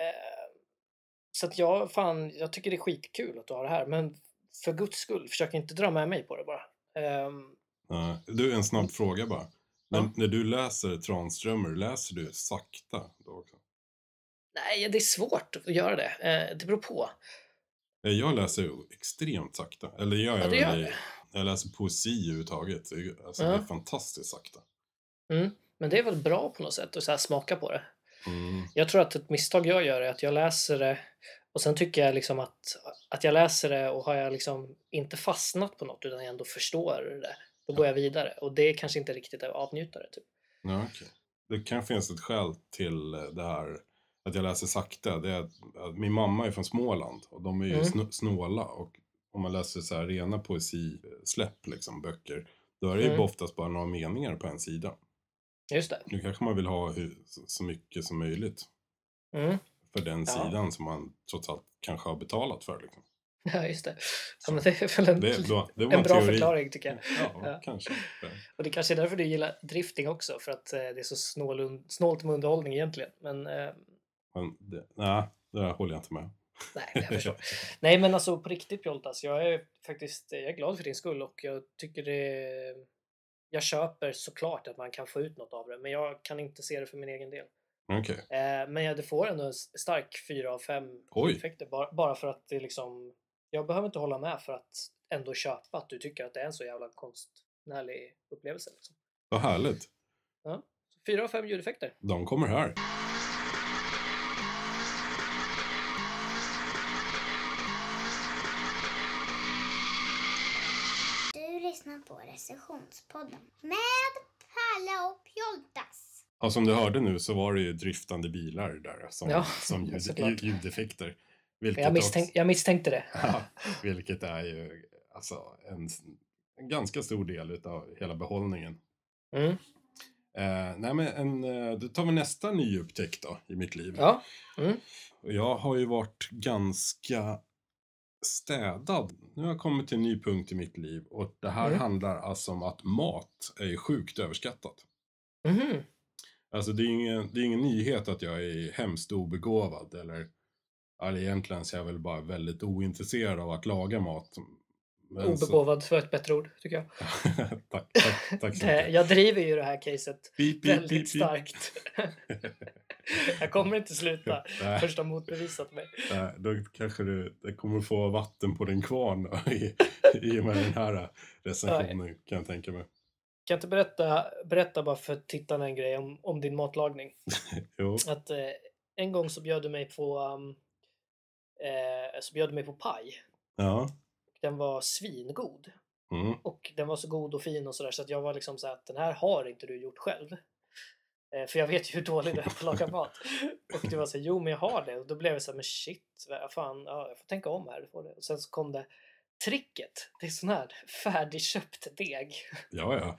Speaker 1: så att jag, fan, jag tycker det är skitkul att du har det här. Men för guds skull, försök inte dra med mig på det bara. Ehm,
Speaker 2: Ja. Du, en snabb fråga bara. När,
Speaker 1: Mm. Ja.
Speaker 2: när du läser Tranströmer, läser du sakta då också?
Speaker 1: nej, det är svårt att göra det. Eh, det beror på.
Speaker 2: Eh, Jag läser ju extremt sakta. Eller gör jag
Speaker 1: det
Speaker 2: väl
Speaker 1: gör
Speaker 2: i-
Speaker 1: det.
Speaker 2: när jag läser poesi överhuvudtaget. Det är ju- Alltså,
Speaker 1: Ja.
Speaker 2: Det är fantastiskt sakta.
Speaker 1: Men det är väl bra på något sätt att så här smaka på det.
Speaker 2: Mm.
Speaker 1: Jag tror att ett misstag jag gör är att jag läser det och sen tycker jag liksom att, att jag läser det och har jag liksom inte fastnat på något utan jag ändå förstår det, då går jag vidare. Och det är kanske inte riktigt att avnjuta det. Typ.
Speaker 2: Ja, okej. Det kan finnas ett skäl till eh, det här att jag läser sakta. Det är att, att min mamma är från Småland och de är ju
Speaker 1: Mm.
Speaker 2: snå- snåla. Och om man läser så här rena poesisläpp, liksom böcker, då är det ju
Speaker 1: Mm.
Speaker 2: oftast bara några meningar på en sida.
Speaker 1: Just det.
Speaker 2: Nu kanske man vill ha hu- så- så mycket som möjligt
Speaker 1: Mm.
Speaker 2: för den
Speaker 1: Ja.
Speaker 2: sidan som man trots allt kanske har betalat för. Liksom.
Speaker 1: Ja, just det. Ja, men det är väl en,
Speaker 2: Det, då, det var
Speaker 1: en bra
Speaker 2: teori.
Speaker 1: förklaring tycker jag.
Speaker 2: Ja,
Speaker 1: Ja.
Speaker 2: kanske.
Speaker 1: Och det kanske är därför du gillar drifting också, för att eh, det är så snål, snålt med underhållning egentligen. Men eh,
Speaker 2: Men det, nej, det håller jag inte med.
Speaker 1: nej, jag förstår. Nej men alltså på riktigt Pjoltas, jag är faktiskt jag är glad för din skull och jag tycker det... Jag köper såklart att man kan få ut något av det men jag kan inte se det för min egen del.
Speaker 2: Okej.
Speaker 1: Eh, men jag det får ändå en s- stark 4 av 5
Speaker 2: Oj.
Speaker 1: effekter bara, bara för att det liksom... Jag behöver inte hålla med för att ändå köpa att du tycker att det är en så jävla konstnärlig upplevelse. Liksom.
Speaker 2: Vad härligt.
Speaker 1: Så 4 av 5 ljudeffekter.
Speaker 2: De kommer här.
Speaker 4: Du lyssnar på recensionspodden med Palle och Pjoltas.
Speaker 2: Ja, som du hörde nu så var det ju driftande bilar där som,
Speaker 1: Ja,
Speaker 2: som ljud,
Speaker 1: såklart.
Speaker 2: ljudeffekter. Vilket,
Speaker 1: Jag, misstänk,
Speaker 2: också,
Speaker 1: jag misstänkte det.
Speaker 2: ja, vilket är ju alltså, en, en ganska stor del av hela behållningen.
Speaker 1: Mm.
Speaker 2: Eh, nej, men en, eh, då tar vi nästa nyupptäckt då i mitt liv.
Speaker 1: Ja.
Speaker 2: Och jag har ju varit ganska städad. Nu har jag kommit till en ny punkt i mitt liv och det här
Speaker 1: Mm.
Speaker 2: handlar alltså om att mat är ju sjukt överskattat.
Speaker 1: Mhm.
Speaker 2: Alltså det är ingen, det är ingen nyhet att jag är hemskt obegåvad eller, eller egentligen så är jag väl bara väldigt ointresserad av att laga mat. Men så-
Speaker 1: Obegåvad var ett bättre ord tycker jag.
Speaker 2: tack, tack, tack så
Speaker 1: Det,
Speaker 2: mycket.
Speaker 1: jag driver ju det här caset
Speaker 2: Pip, pip,
Speaker 1: väldigt
Speaker 2: pip, pip.
Speaker 1: starkt. jag kommer inte sluta
Speaker 2: Nej,
Speaker 1: först de motbevisat mig.
Speaker 2: nej, då kanske du det kommer få vatten på din kvarn i, i och med den här recensionen kan jag tänka mig.
Speaker 1: Kan jag inte berätta, berätta bara för tittarna en grej om, om din matlagning?
Speaker 2: Jo.
Speaker 1: Att eh, en gång så bjöd du mig på um, eh, så bjöd du mig på paj.
Speaker 2: Ja.
Speaker 1: Den var svingod.
Speaker 2: Mm.
Speaker 1: Och den var så god och fin och sådär så att jag var liksom så här att den här har inte du gjort själv. Eh, För jag vet ju hur dålig du är på att laga mat. Och du var så här, jo men jag har det. Och då blev jag så här, men shit, vad fan, ja, jag får tänka om här. Får det. Och sen så kom det tricket. Det är sån här färdigköpt deg.
Speaker 2: Ja, ja.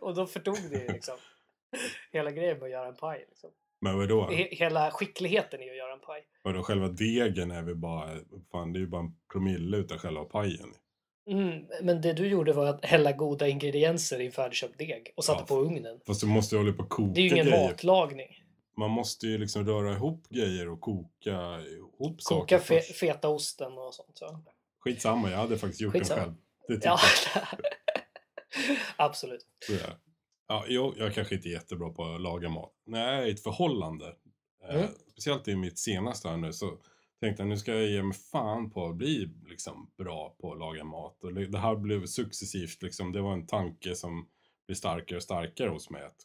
Speaker 1: Och då förtog det ju liksom hela grejen med att göra en paj. Liksom.
Speaker 2: Men vadå?
Speaker 1: He- Hela skickligheten i att göra en paj.
Speaker 2: Vadå, själva degen är väl bara... Fan, det är ju bara en promille utav själva pajen.
Speaker 1: Mm, men det du gjorde var att hälla goda ingredienser i en färdigköpt deg och satte
Speaker 2: Ja.
Speaker 1: på ugnen.
Speaker 2: Fast du måste ju hålla på och koka
Speaker 1: Det är ju ingen
Speaker 2: grejer.
Speaker 1: matlagning.
Speaker 2: Man måste ju liksom röra ihop grejer och koka ihop
Speaker 1: Koka
Speaker 2: saker
Speaker 1: fe-
Speaker 2: först. Typ.
Speaker 1: fetaosten och sånt. Så.
Speaker 2: Skitsamma, jag hade faktiskt gjort
Speaker 1: Skitsamma.
Speaker 2: den själv. Det tycker
Speaker 1: Ja, absolut.
Speaker 2: jag. Så jag- Ja, jo, jag kanske inte är jättebra på att laga mat. När jag är i ett förhållande, eh,
Speaker 1: Mm.
Speaker 2: speciellt i mitt senaste här nu, så tänkte jag nu ska jag ge mig fan på att bli liksom bra på att laga mat. Och det det här blev successivt liksom, det var en tanke som blev starkare och starkare hos mig. Att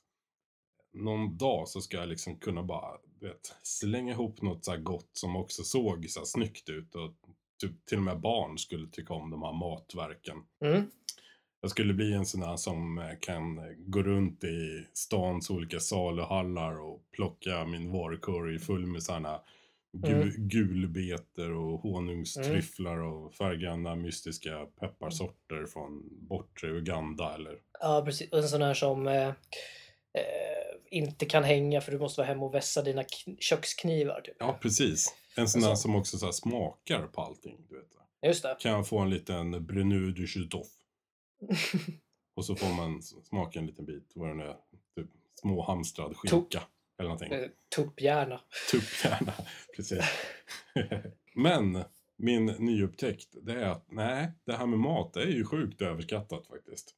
Speaker 2: någon dag så ska jag liksom kunna bara, du vet, slänga ihop något så här gott som också såg så här snyggt ut och typ, till och med barn skulle tycka om de här matverken.
Speaker 1: Mm.
Speaker 2: Jag skulle bli en sån här som eh, kan gå runt i stans olika saluhallar och plocka min varukorg full med såna gu- gulbeter och honungstryfflar och färggranna mystiska pepparsorter från bortre Uganda eller
Speaker 1: Ja, precis. En sån här som eh, eh, inte kan hänga för du måste vara hemma och vässa dina kn- köksknivar. Typ.
Speaker 2: Ja, precis. En sån
Speaker 1: En
Speaker 2: här
Speaker 1: sån.
Speaker 2: som också så här smakar på allting, du vet.
Speaker 1: Just det.
Speaker 2: Kan jag få en liten Bruneux du Chutoff? och så får man s- smaka en liten bit, vad det nu är, typ småhamstrad skinka eller någonting.
Speaker 1: Eh, Tupphjärna.
Speaker 2: Tupphjärna, precis. Men min nyupptäckt, det är att nej, det här med mat det är ju sjukt överskattat faktiskt.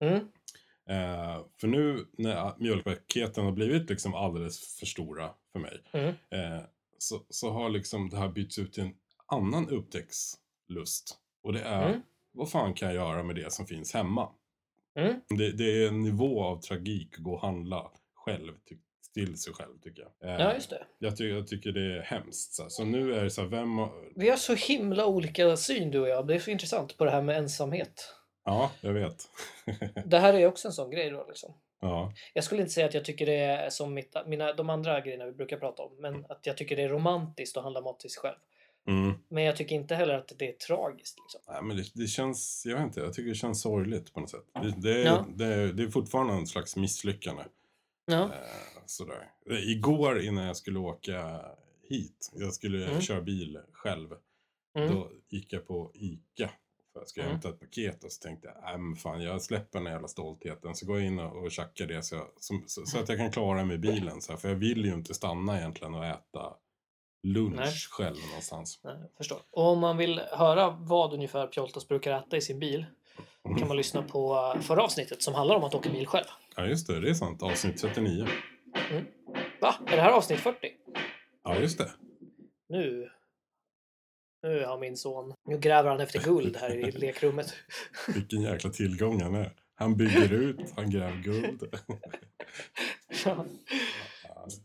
Speaker 1: Mm.
Speaker 2: Eh, för nu när mjölkpaketen har blivit liksom alldeles för stora för mig
Speaker 1: Mm.
Speaker 2: eh, så, så har liksom det här bytts ut till en annan upptäcktslust. Och det är,
Speaker 1: Mm.
Speaker 2: vad fan kan jag göra med det som finns hemma?
Speaker 1: Mm.
Speaker 2: Det, det är en nivå av tragik att gå och handla själv, ty- till sig själv tycker jag. Eh,
Speaker 1: Ja, just det.
Speaker 2: jag, ty- jag tycker det är hemskt. Så, här. så nu är det så här, vem har-
Speaker 1: Vi har så himla olika syn du och jag. Det är så intressant på det här med ensamhet.
Speaker 2: Ja, jag vet.
Speaker 1: Det här är också en sån grej då liksom.
Speaker 2: ja.
Speaker 1: Jag skulle inte säga att jag tycker det är som mitt, mina, de andra grejerna vi brukar prata om. Men att jag tycker det är romantiskt att handla mat till sig själv.
Speaker 2: Mm.
Speaker 1: Men jag tycker inte heller att det är tragiskt. Liksom.
Speaker 2: Nej, men det, det känns, jag vet inte, jag tycker det känns sorgligt på något sätt. Det, det, är,
Speaker 1: Ja.
Speaker 2: det, är, det är fortfarande en slags misslyckande.
Speaker 1: Ja.
Speaker 2: Eh, sådär. Eh, Igår innan jag skulle åka hit, jag skulle
Speaker 1: Mm.
Speaker 2: köra bil själv,
Speaker 1: Mm.
Speaker 2: då gick jag på Ica. För jag ska
Speaker 1: Mm.
Speaker 2: hämta ett paket och så tänkte jag, nej men fan jag släpper den här jävla stoltheten. Så går jag in och, och tjackar det så, jag, som, så, så att jag kan klara mig i bilen. Så här, för jag vill ju inte stanna egentligen och äta lunch
Speaker 1: Nej.
Speaker 2: själv någonstans.
Speaker 1: Nej, jag förstår. Och om man vill höra vad ungefär Pjoltas brukar äta i sin bil kan man lyssna på eh, förra avsnittet som handlar om att åka bil själv.
Speaker 2: Ja just det, det är sant. Avsnitt 39.
Speaker 1: Va? Är det här avsnitt 40?
Speaker 2: Ja just det.
Speaker 1: Nu... Nu har min son... Nu gräver han efter guld här i lekrummet.
Speaker 2: Vilken jäkla tillgång han är. Han bygger ut, han gräver guld.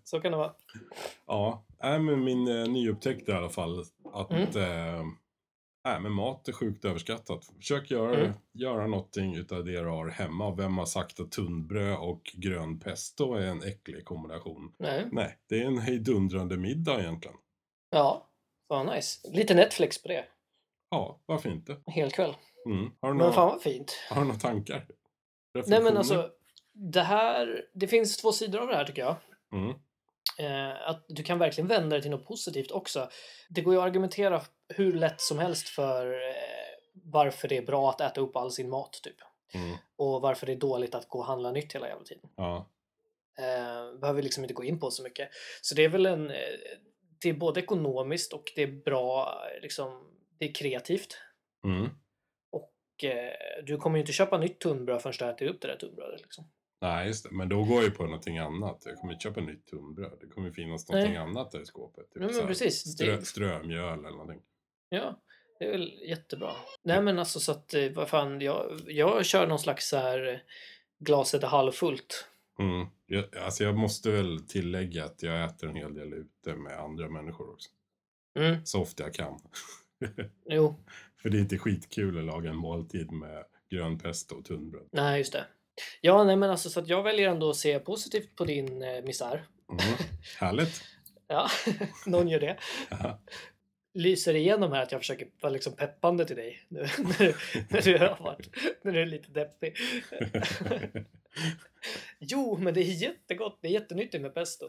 Speaker 1: Så kan det vara.
Speaker 2: Ja, äh, men min eh, nyupptäckt i alla fall att
Speaker 1: Mm.
Speaker 2: eh, äh, men mat är sjukt överskattat. Försök göra,
Speaker 1: Mm.
Speaker 2: göra någonting utav det du har hemma. Vem har sagt att tunnbröd och grön pesto är en äcklig kombination?
Speaker 1: Nej.
Speaker 2: Nej, det är en hejdundrande middag egentligen.
Speaker 1: Ja. Fan nice. Lite Netflix på det.
Speaker 2: Ja, varför inte?
Speaker 1: En hel kväll.
Speaker 2: Mm. Har, du
Speaker 1: Men
Speaker 2: några,
Speaker 1: fan vad fint.
Speaker 2: har du några tankar?
Speaker 1: Nej men
Speaker 2: Reflektioner?
Speaker 1: alltså. Det här... Det finns två sidor av det här tycker jag.
Speaker 2: Mm.
Speaker 1: Eh, att du kan verkligen vända det till något positivt också. Det går ju att argumentera hur lätt som helst för eh, varför det är bra att äta upp all sin mat typ.
Speaker 2: Mm.
Speaker 1: Och varför det är dåligt att gå och handla nytt hela jävla tiden.
Speaker 2: Ja.
Speaker 1: Eh, behöver vi liksom inte gå in på så mycket. Så det är väl en... Eh, det är både ekonomiskt och det är bra, eh, liksom, det är kreativt.
Speaker 2: Mm.
Speaker 1: Och, eh, du kommer ju inte köpa nytt tunnbröd förrän du har ätit upp det där tunnbrödet. Liksom.
Speaker 2: Nej, just det. Men då går jag ju på någonting annat. Jag kommer inte köpa nytt tunnbröd. Det kommer ju finnas någonting annat där i skåpet. Typ
Speaker 1: Nej, men
Speaker 2: så här
Speaker 1: precis.
Speaker 2: Strö,
Speaker 1: Det-
Speaker 2: Strömjöl eller någonting.
Speaker 1: Ja, det är väl jättebra. Nej men alltså så att, eh, vad fan, jag, jag kör någon slags så här eh, glaset är halvfullt.
Speaker 2: Mm. Jag, alltså jag måste väl tillägga att jag äter en hel del ute med andra människor också.
Speaker 1: Mm,
Speaker 2: Så ofta jag kan.
Speaker 1: jo,
Speaker 2: För det är inte skitkul att laga en måltid med grön pesto och tunnbröd.
Speaker 1: nej just det. Ja, nej men alltså så att jag väljer ändå att se positivt på din eh, misär.
Speaker 2: Mm. Härligt.
Speaker 1: Ja, någon gör det.
Speaker 2: Ja.
Speaker 1: Lyser igenom här att jag försöker vara liksom peppande till dig nu när du, när du, har varit, när du är lite deppig. Jo, men det är jättegott. Det är jättenyttigt med pesto.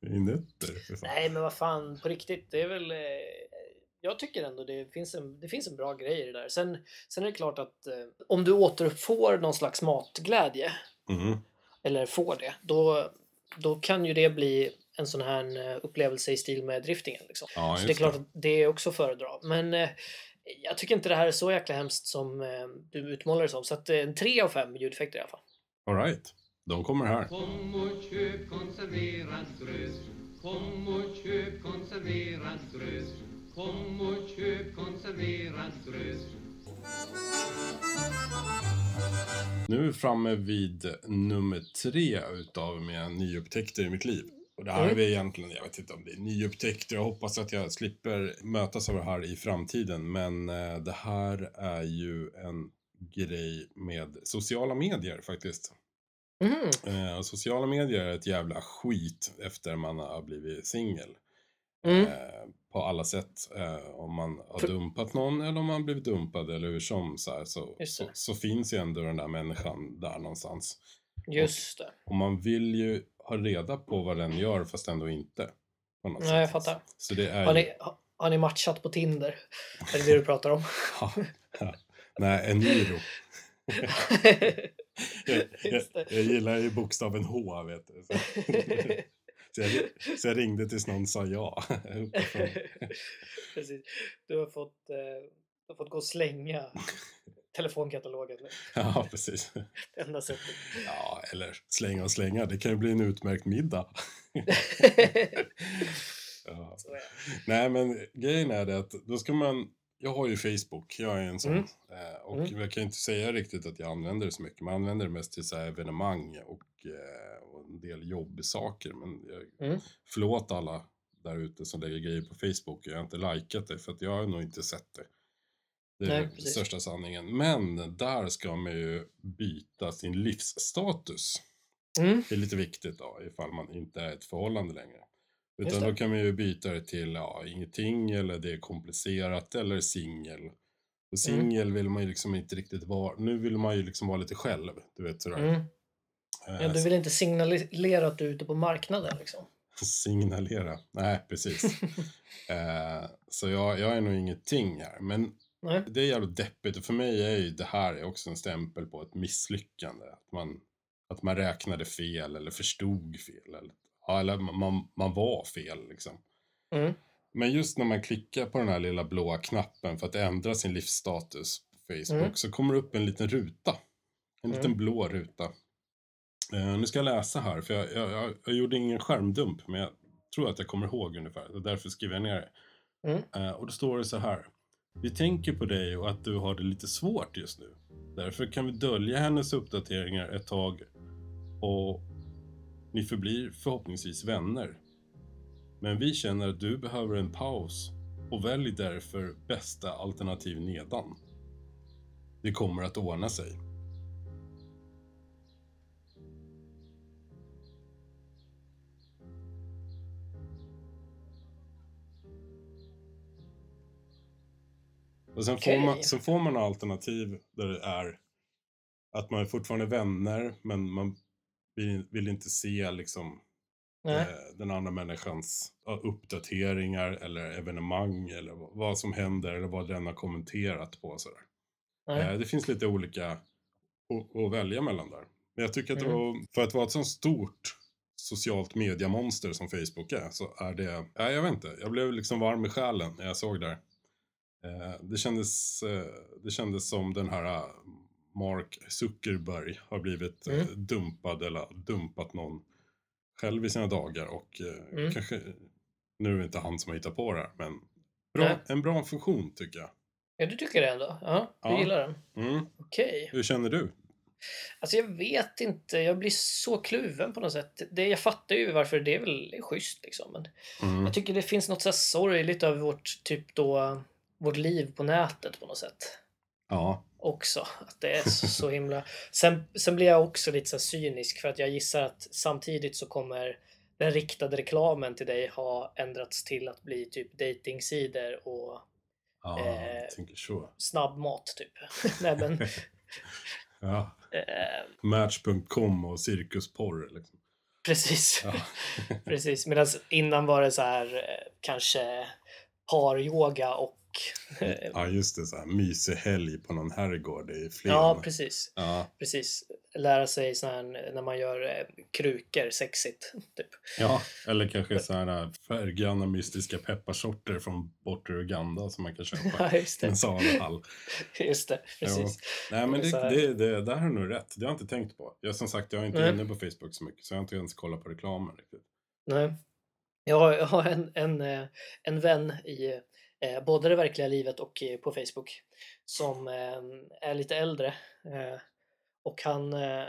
Speaker 2: Det är nötter. för fan.
Speaker 1: Nej, men vad fan, på riktigt. Det är väl... eh, Jag tycker ändå det finns en, det finns en bra grej i det där. Sen, sen är det klart att eh, om du återfår någon slags matglädje,
Speaker 2: Mm.
Speaker 1: eller får det, då, då kan ju det bli en sån här eh, upplevelse i stil med driftingen. Liksom.
Speaker 2: Ja, just
Speaker 1: Så det är klart att det är också att föredra. Men eh, jag tycker inte det här är så jäkla hemskt som eh, du utmålar det som. Så att eh, en 3 av 5 ljudeffekter i alla fall.
Speaker 2: All right. De kommer här.
Speaker 5: Kom och köp konserverad gröt. Kom och köp konserverad gröt. Kom och köp konserverad gröt.
Speaker 2: Nu är vi framme vid nummer tre utav mina nyupptäckter i mitt liv. Och det här är
Speaker 1: Mm.
Speaker 2: vi egentligen, jag vet inte om det är nyupptäckter, jag hoppas att jag slipper mötas av det här i framtiden. Men eh, det här är ju en grej med sociala medier faktiskt.
Speaker 1: Mhm.
Speaker 2: Eh, och sociala medier är ett jävla skit efter man har blivit singel.
Speaker 1: Mm.
Speaker 2: Eh, på alla sätt. Eh, om man har
Speaker 1: För-
Speaker 2: dumpat någon eller om man blivit dumpad eller hur som så, här, så,
Speaker 1: Just
Speaker 2: så,
Speaker 1: det.
Speaker 2: så finns ju ändå den där människan där någonstans.
Speaker 1: Just det.
Speaker 2: Och man vill ju ha reda på vad den gör fast ändå inte. På något
Speaker 1: Nej, jag fattar.
Speaker 2: Så det är
Speaker 1: Har
Speaker 2: ju...
Speaker 1: ni, har- har ni matchat på Tinder? Är det det du pratar om?
Speaker 2: Nej, en gyro. Jag, jag,
Speaker 1: Just det.
Speaker 2: jag gillar ju bokstaven H, vet du. Så, så, jag, ri- så jag ringde tills någon sa ja. Uppifrån.
Speaker 1: Precis. Du har fått, eh, du har fått gå och slänga telefonkatalogen.
Speaker 2: ja, precis.
Speaker 1: Det enda sättet.
Speaker 2: Ja, eller slänga och slänga. Det kan ju bli en utmärkt middag. Ja.
Speaker 1: Så är det.
Speaker 2: Nej, men grejen är det att då ska man... Jag har ju Facebook, jag är en sån.
Speaker 1: Mm.
Speaker 2: Eh, och
Speaker 1: Mm.
Speaker 2: jag kan ju inte säga riktigt att jag använder det så mycket. Man använder det mest till så här evenemang och, eh, och en del jobbsaker. Men jag,
Speaker 1: Mm.
Speaker 2: förlåt alla där ute som lägger grejer på Facebook. Jag har inte likat det för att jag har nog inte sett det. Det är
Speaker 1: Nej,
Speaker 2: den
Speaker 1: precis.
Speaker 2: största sanningen. Men där ska man ju byta sin livsstatus.
Speaker 1: Mm.
Speaker 2: Det är lite viktigt då, ifall man inte är i ett förhållande längre. Utan
Speaker 1: det.
Speaker 2: då kan man ju byta det till ja, ingenting eller det är komplicerat eller singel. Och
Speaker 1: Mm.
Speaker 2: singel vill man ju liksom inte riktigt vara. Nu vill man ju liksom vara lite själv, du vet sådär.
Speaker 1: Mm.
Speaker 2: Eh,
Speaker 1: Ja, du vill inte signalera att du är ute på marknaden liksom?
Speaker 2: Signalera. Nej, precis. eh, så jag, jag är nog ingenting här. Men
Speaker 1: Nej.
Speaker 2: det är jävligt deppigt och för mig är ju det här är också en stämpel på ett misslyckande. Att man, att man räknade fel eller förstod fel. Eller, ja, eller man- man, man var fel liksom.
Speaker 1: Mm.
Speaker 2: Men just när man klickar på den här lilla blåa knappen för att ändra sin livsstatus på Facebook
Speaker 1: Mm.
Speaker 2: så kommer det upp en liten ruta. En
Speaker 1: Mm.
Speaker 2: liten blå ruta. Eh, nu ska jag läsa här för jag, jag, jag, jag gjorde ingen skärmdump men jag tror att jag kommer ihåg ungefär. Det är därför skriver jag ner det.
Speaker 1: Mm.
Speaker 2: Eh, Och då står det så här. Vi tänker på dig och att du har det lite svårt just nu. Därför kan vi dölja hennes uppdateringar ett tag och ni förblir förhoppningsvis vänner. Men vi känner att du behöver en paus och välj därför bästa alternativ nedan. Det kommer att ordna sig. Och sen, får man,
Speaker 1: Okej.
Speaker 2: sen får man alternativ där det är att man är fortfarande vänner men man vill, vill inte se liksom
Speaker 1: Nej.
Speaker 2: eh, den andra människans ja, uppdateringar eller evenemang eller v- vad som händer eller vad den har kommenterat på. och Sådär.
Speaker 1: Nej.
Speaker 2: Eh, Det finns lite olika att, att välja mellan där. Men jag tycker att det
Speaker 1: Mm.
Speaker 2: var, för att vara ett så stort socialt mediemonster som Facebook är så är det, ja, jag vet inte, jag blev liksom varm i själen när jag såg det här. Eh, Det kändes, eh, det kändes som den här eh, Mark Zuckerberg har blivit eh,
Speaker 1: Mm.
Speaker 2: dumpad eller dumpat någon själv i sina dagar och eh,
Speaker 1: Mm.
Speaker 2: kanske, nu är det inte han som har hittat på det här men bra,
Speaker 1: Nej.
Speaker 2: en bra funktion tycker jag.
Speaker 1: Ja, du tycker det ändå? Ja, du
Speaker 2: Ja.
Speaker 1: gillar den?
Speaker 2: Mm.
Speaker 1: Okej.
Speaker 2: Hur känner du?
Speaker 1: Alltså jag vet inte, jag blir så kluven på något sätt. Det, jag fattar ju varför det är väl det är schysst liksom. Men
Speaker 2: Mm.
Speaker 1: jag tycker det finns något så här sorgligt över vårt, typ då, vårt liv på nätet på något sätt.
Speaker 2: Ja.
Speaker 1: också. Att det är så så himla... Sen, sen blir jag också lite så här cynisk för att jag gissar att samtidigt så kommer den riktade reklamen till dig ha ändrats till att bli typ datingsidor och
Speaker 2: Ja,
Speaker 1: Eh.
Speaker 2: jag tänker så.
Speaker 1: snabbmat typ. Nej men...
Speaker 2: Ja.
Speaker 1: Eh,
Speaker 2: Match.com och cirkusporr liksom.
Speaker 1: precis.
Speaker 2: Ja.
Speaker 1: precis. Medan innan var det så här eh, kanske paryoga och...
Speaker 2: ja, just det. Så här mysig helg på någon herrgård i Flen.
Speaker 1: Ja, precis.
Speaker 2: Ja,
Speaker 1: Precis. Lära sig sån här när man gör eh, krukor sexigt. Typ.
Speaker 2: ja. Eller kanske så här färggranna mystiska pepparsorter från bortre Uganda som man kan köpa.
Speaker 1: Ja, just
Speaker 2: i
Speaker 1: det.
Speaker 2: en saluhall.
Speaker 1: Just det, precis.
Speaker 2: Nej men det,
Speaker 1: Så här.
Speaker 2: det, det, där har du nog rätt. Det har jag inte tänkt på. Jag som sagt, jag är inte
Speaker 1: Nej.
Speaker 2: inne på Facebook så mycket så jag har inte ens kollat på reklamen riktigt.
Speaker 1: Nej. Jag har, jag har en, en, eh, en vän i eh, både det verkliga livet och eh, på Facebook som eh, är lite äldre. Eh, och han, eh,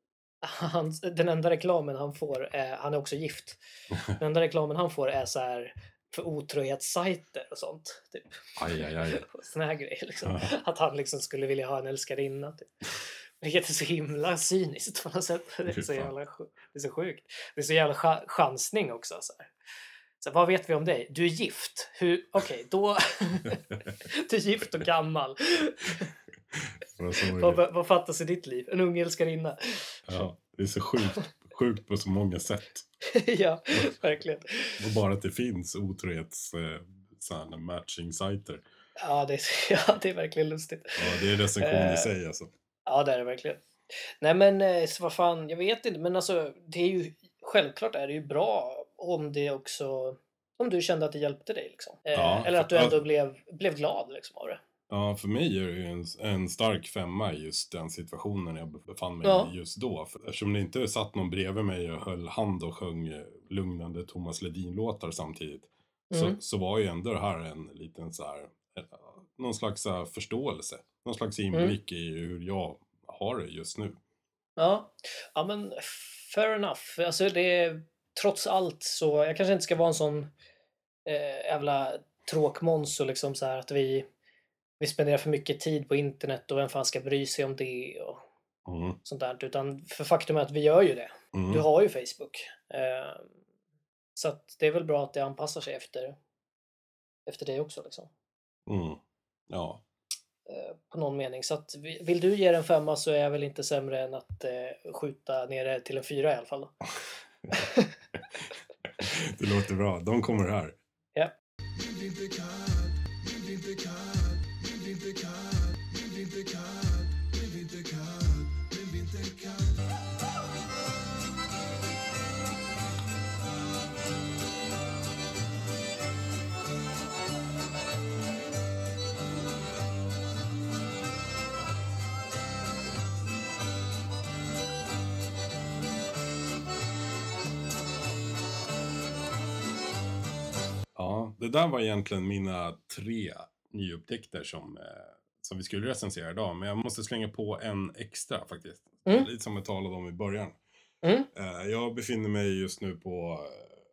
Speaker 1: han, den enda reklamen han får, är, han är också gift, den enda reklamen han får är så här för otrohetssajter och sånt. Typ.
Speaker 2: Aj, aj, aj.
Speaker 1: Såna här grejer. Liksom.
Speaker 2: Ja.
Speaker 1: Att han liksom skulle vilja ha en älskarinna. Typ. Vilket är så himla cyniskt på något sätt. Det är
Speaker 2: Fy
Speaker 1: så,
Speaker 2: fan.
Speaker 1: jävla, sj- det är så sjukt. Det är så jävla cha- chansning också. Så här. Så här, vad vet vi om dig? Du är gift. Hur- Okej, då... du är gift och gammal.
Speaker 2: Vad sa du?
Speaker 1: Vad, vad fattas i ditt liv? En ung älskarinna.
Speaker 2: Ja, det är så sjukt, sjukt på så många sätt.
Speaker 1: ja, verkligen.
Speaker 2: Och bara att det finns otrohets eh, sådana matching-sajter.
Speaker 1: Ja det, är, så- ja, det är verkligen lustigt.
Speaker 2: Ja, det är recension
Speaker 1: Eh.
Speaker 2: i sig alltså.
Speaker 1: Ja, det är det verkligen. Nej, men eh, så vad fan, jag vet inte. Men alltså, det är ju självklart är det ju bra om det också om du kände att det hjälpte dig liksom. Eh,
Speaker 2: Ja,
Speaker 1: Eller att du
Speaker 2: ja.
Speaker 1: ändå blev, blev glad liksom av det.
Speaker 2: Ja, för mig är det ju en, en stark femma i just den situationen jag befann mig
Speaker 1: Ja.
Speaker 2: i just då. För eftersom det inte satt någon bredvid mig och höll hand och sjöng eh, lugnande Thomas Ledin-låtar samtidigt.
Speaker 1: Mm.
Speaker 2: Så, så var ju ändå det här en liten så här, eh, någon slags så här förståelse. Någon slags
Speaker 1: Mm.
Speaker 2: inblick i hur jag har det just nu.
Speaker 1: Ja, ja men fair enough. Alltså det är, trots allt så, jag kanske inte ska vara en sån eh, jävla tråkmåns och liksom så här att vi, vi spenderar för mycket tid på internet och vem fan ska bry sig om det och
Speaker 2: Mm.
Speaker 1: sånt där. Utan för faktum är att vi gör ju det.
Speaker 2: Mm.
Speaker 1: Du har ju Facebook. Eh, så att det är väl bra att det anpassar sig efter, efter dig också. Liksom.
Speaker 2: Mm. Ja,
Speaker 1: Eh, på någon mening. Så att vi- vill du ge den femma så är jag väl inte sämre än att eh, skjuta ner det till en fyra i alla fall. Då.
Speaker 2: det låter bra. De kommer här. Ja, det där var egentligen mina tre nyupptäckter som, eh, som vi skulle recensera idag. Men jag måste slänga på en extra faktiskt.
Speaker 1: Mm.
Speaker 2: Lite som jag talade om i början.
Speaker 1: Mm.
Speaker 2: Eh, jag befinner mig just nu på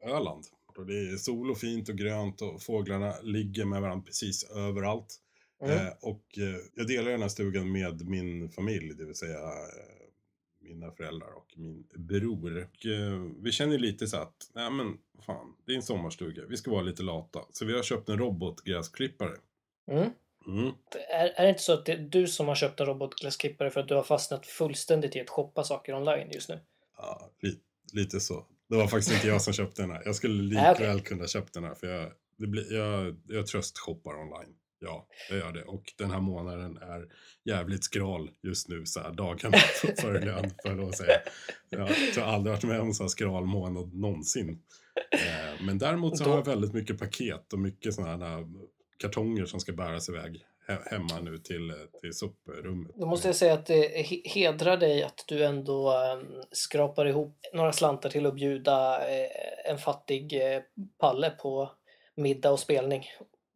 Speaker 2: eh, Öland. Och det är sol och fint och grönt och fåglarna ligger med varandra precis överallt.
Speaker 1: Mm.
Speaker 2: Eh, och eh, jag delar den här stugan med min familj, det vill säga eh, mina föräldrar och min bror. Och, eh, vi känner lite så att, nej men fan, det är en sommarstuga, vi ska vara lite lata. Så vi har köpt en robotgräsklippare.
Speaker 1: Mm.
Speaker 2: Mm.
Speaker 1: Är, är det inte så att det är du som har köpt en robotglassklippare för att du har fastnat fullständigt i att shoppa saker online just nu?
Speaker 2: Ja, li- lite så. Det var faktiskt inte jag som köpte den här. Jag
Speaker 1: Nej,
Speaker 2: skulle likväl
Speaker 1: okej.
Speaker 2: kunna ha köpt den här för jag, det blir, jag, jag tröstshoppar online. Ja, jag gör det. Och den här månaden är jävligt skral just nu så här dagarna före lön får jag lov att säga. Jag tror jag aldrig varit med om en så här skral månad någonsin. Eh, Men däremot så
Speaker 1: Då-
Speaker 2: har jag väldigt mycket paket och mycket sådana här eh, kartonger som ska bäras iväg he- hemma nu till, eh, till soprummet.
Speaker 1: Då måste jag säga att det he- hedrar dig att du ändå ehm, skrapar ihop några slantar till att bjuda eh, en fattig eh, palle på middag och spelning.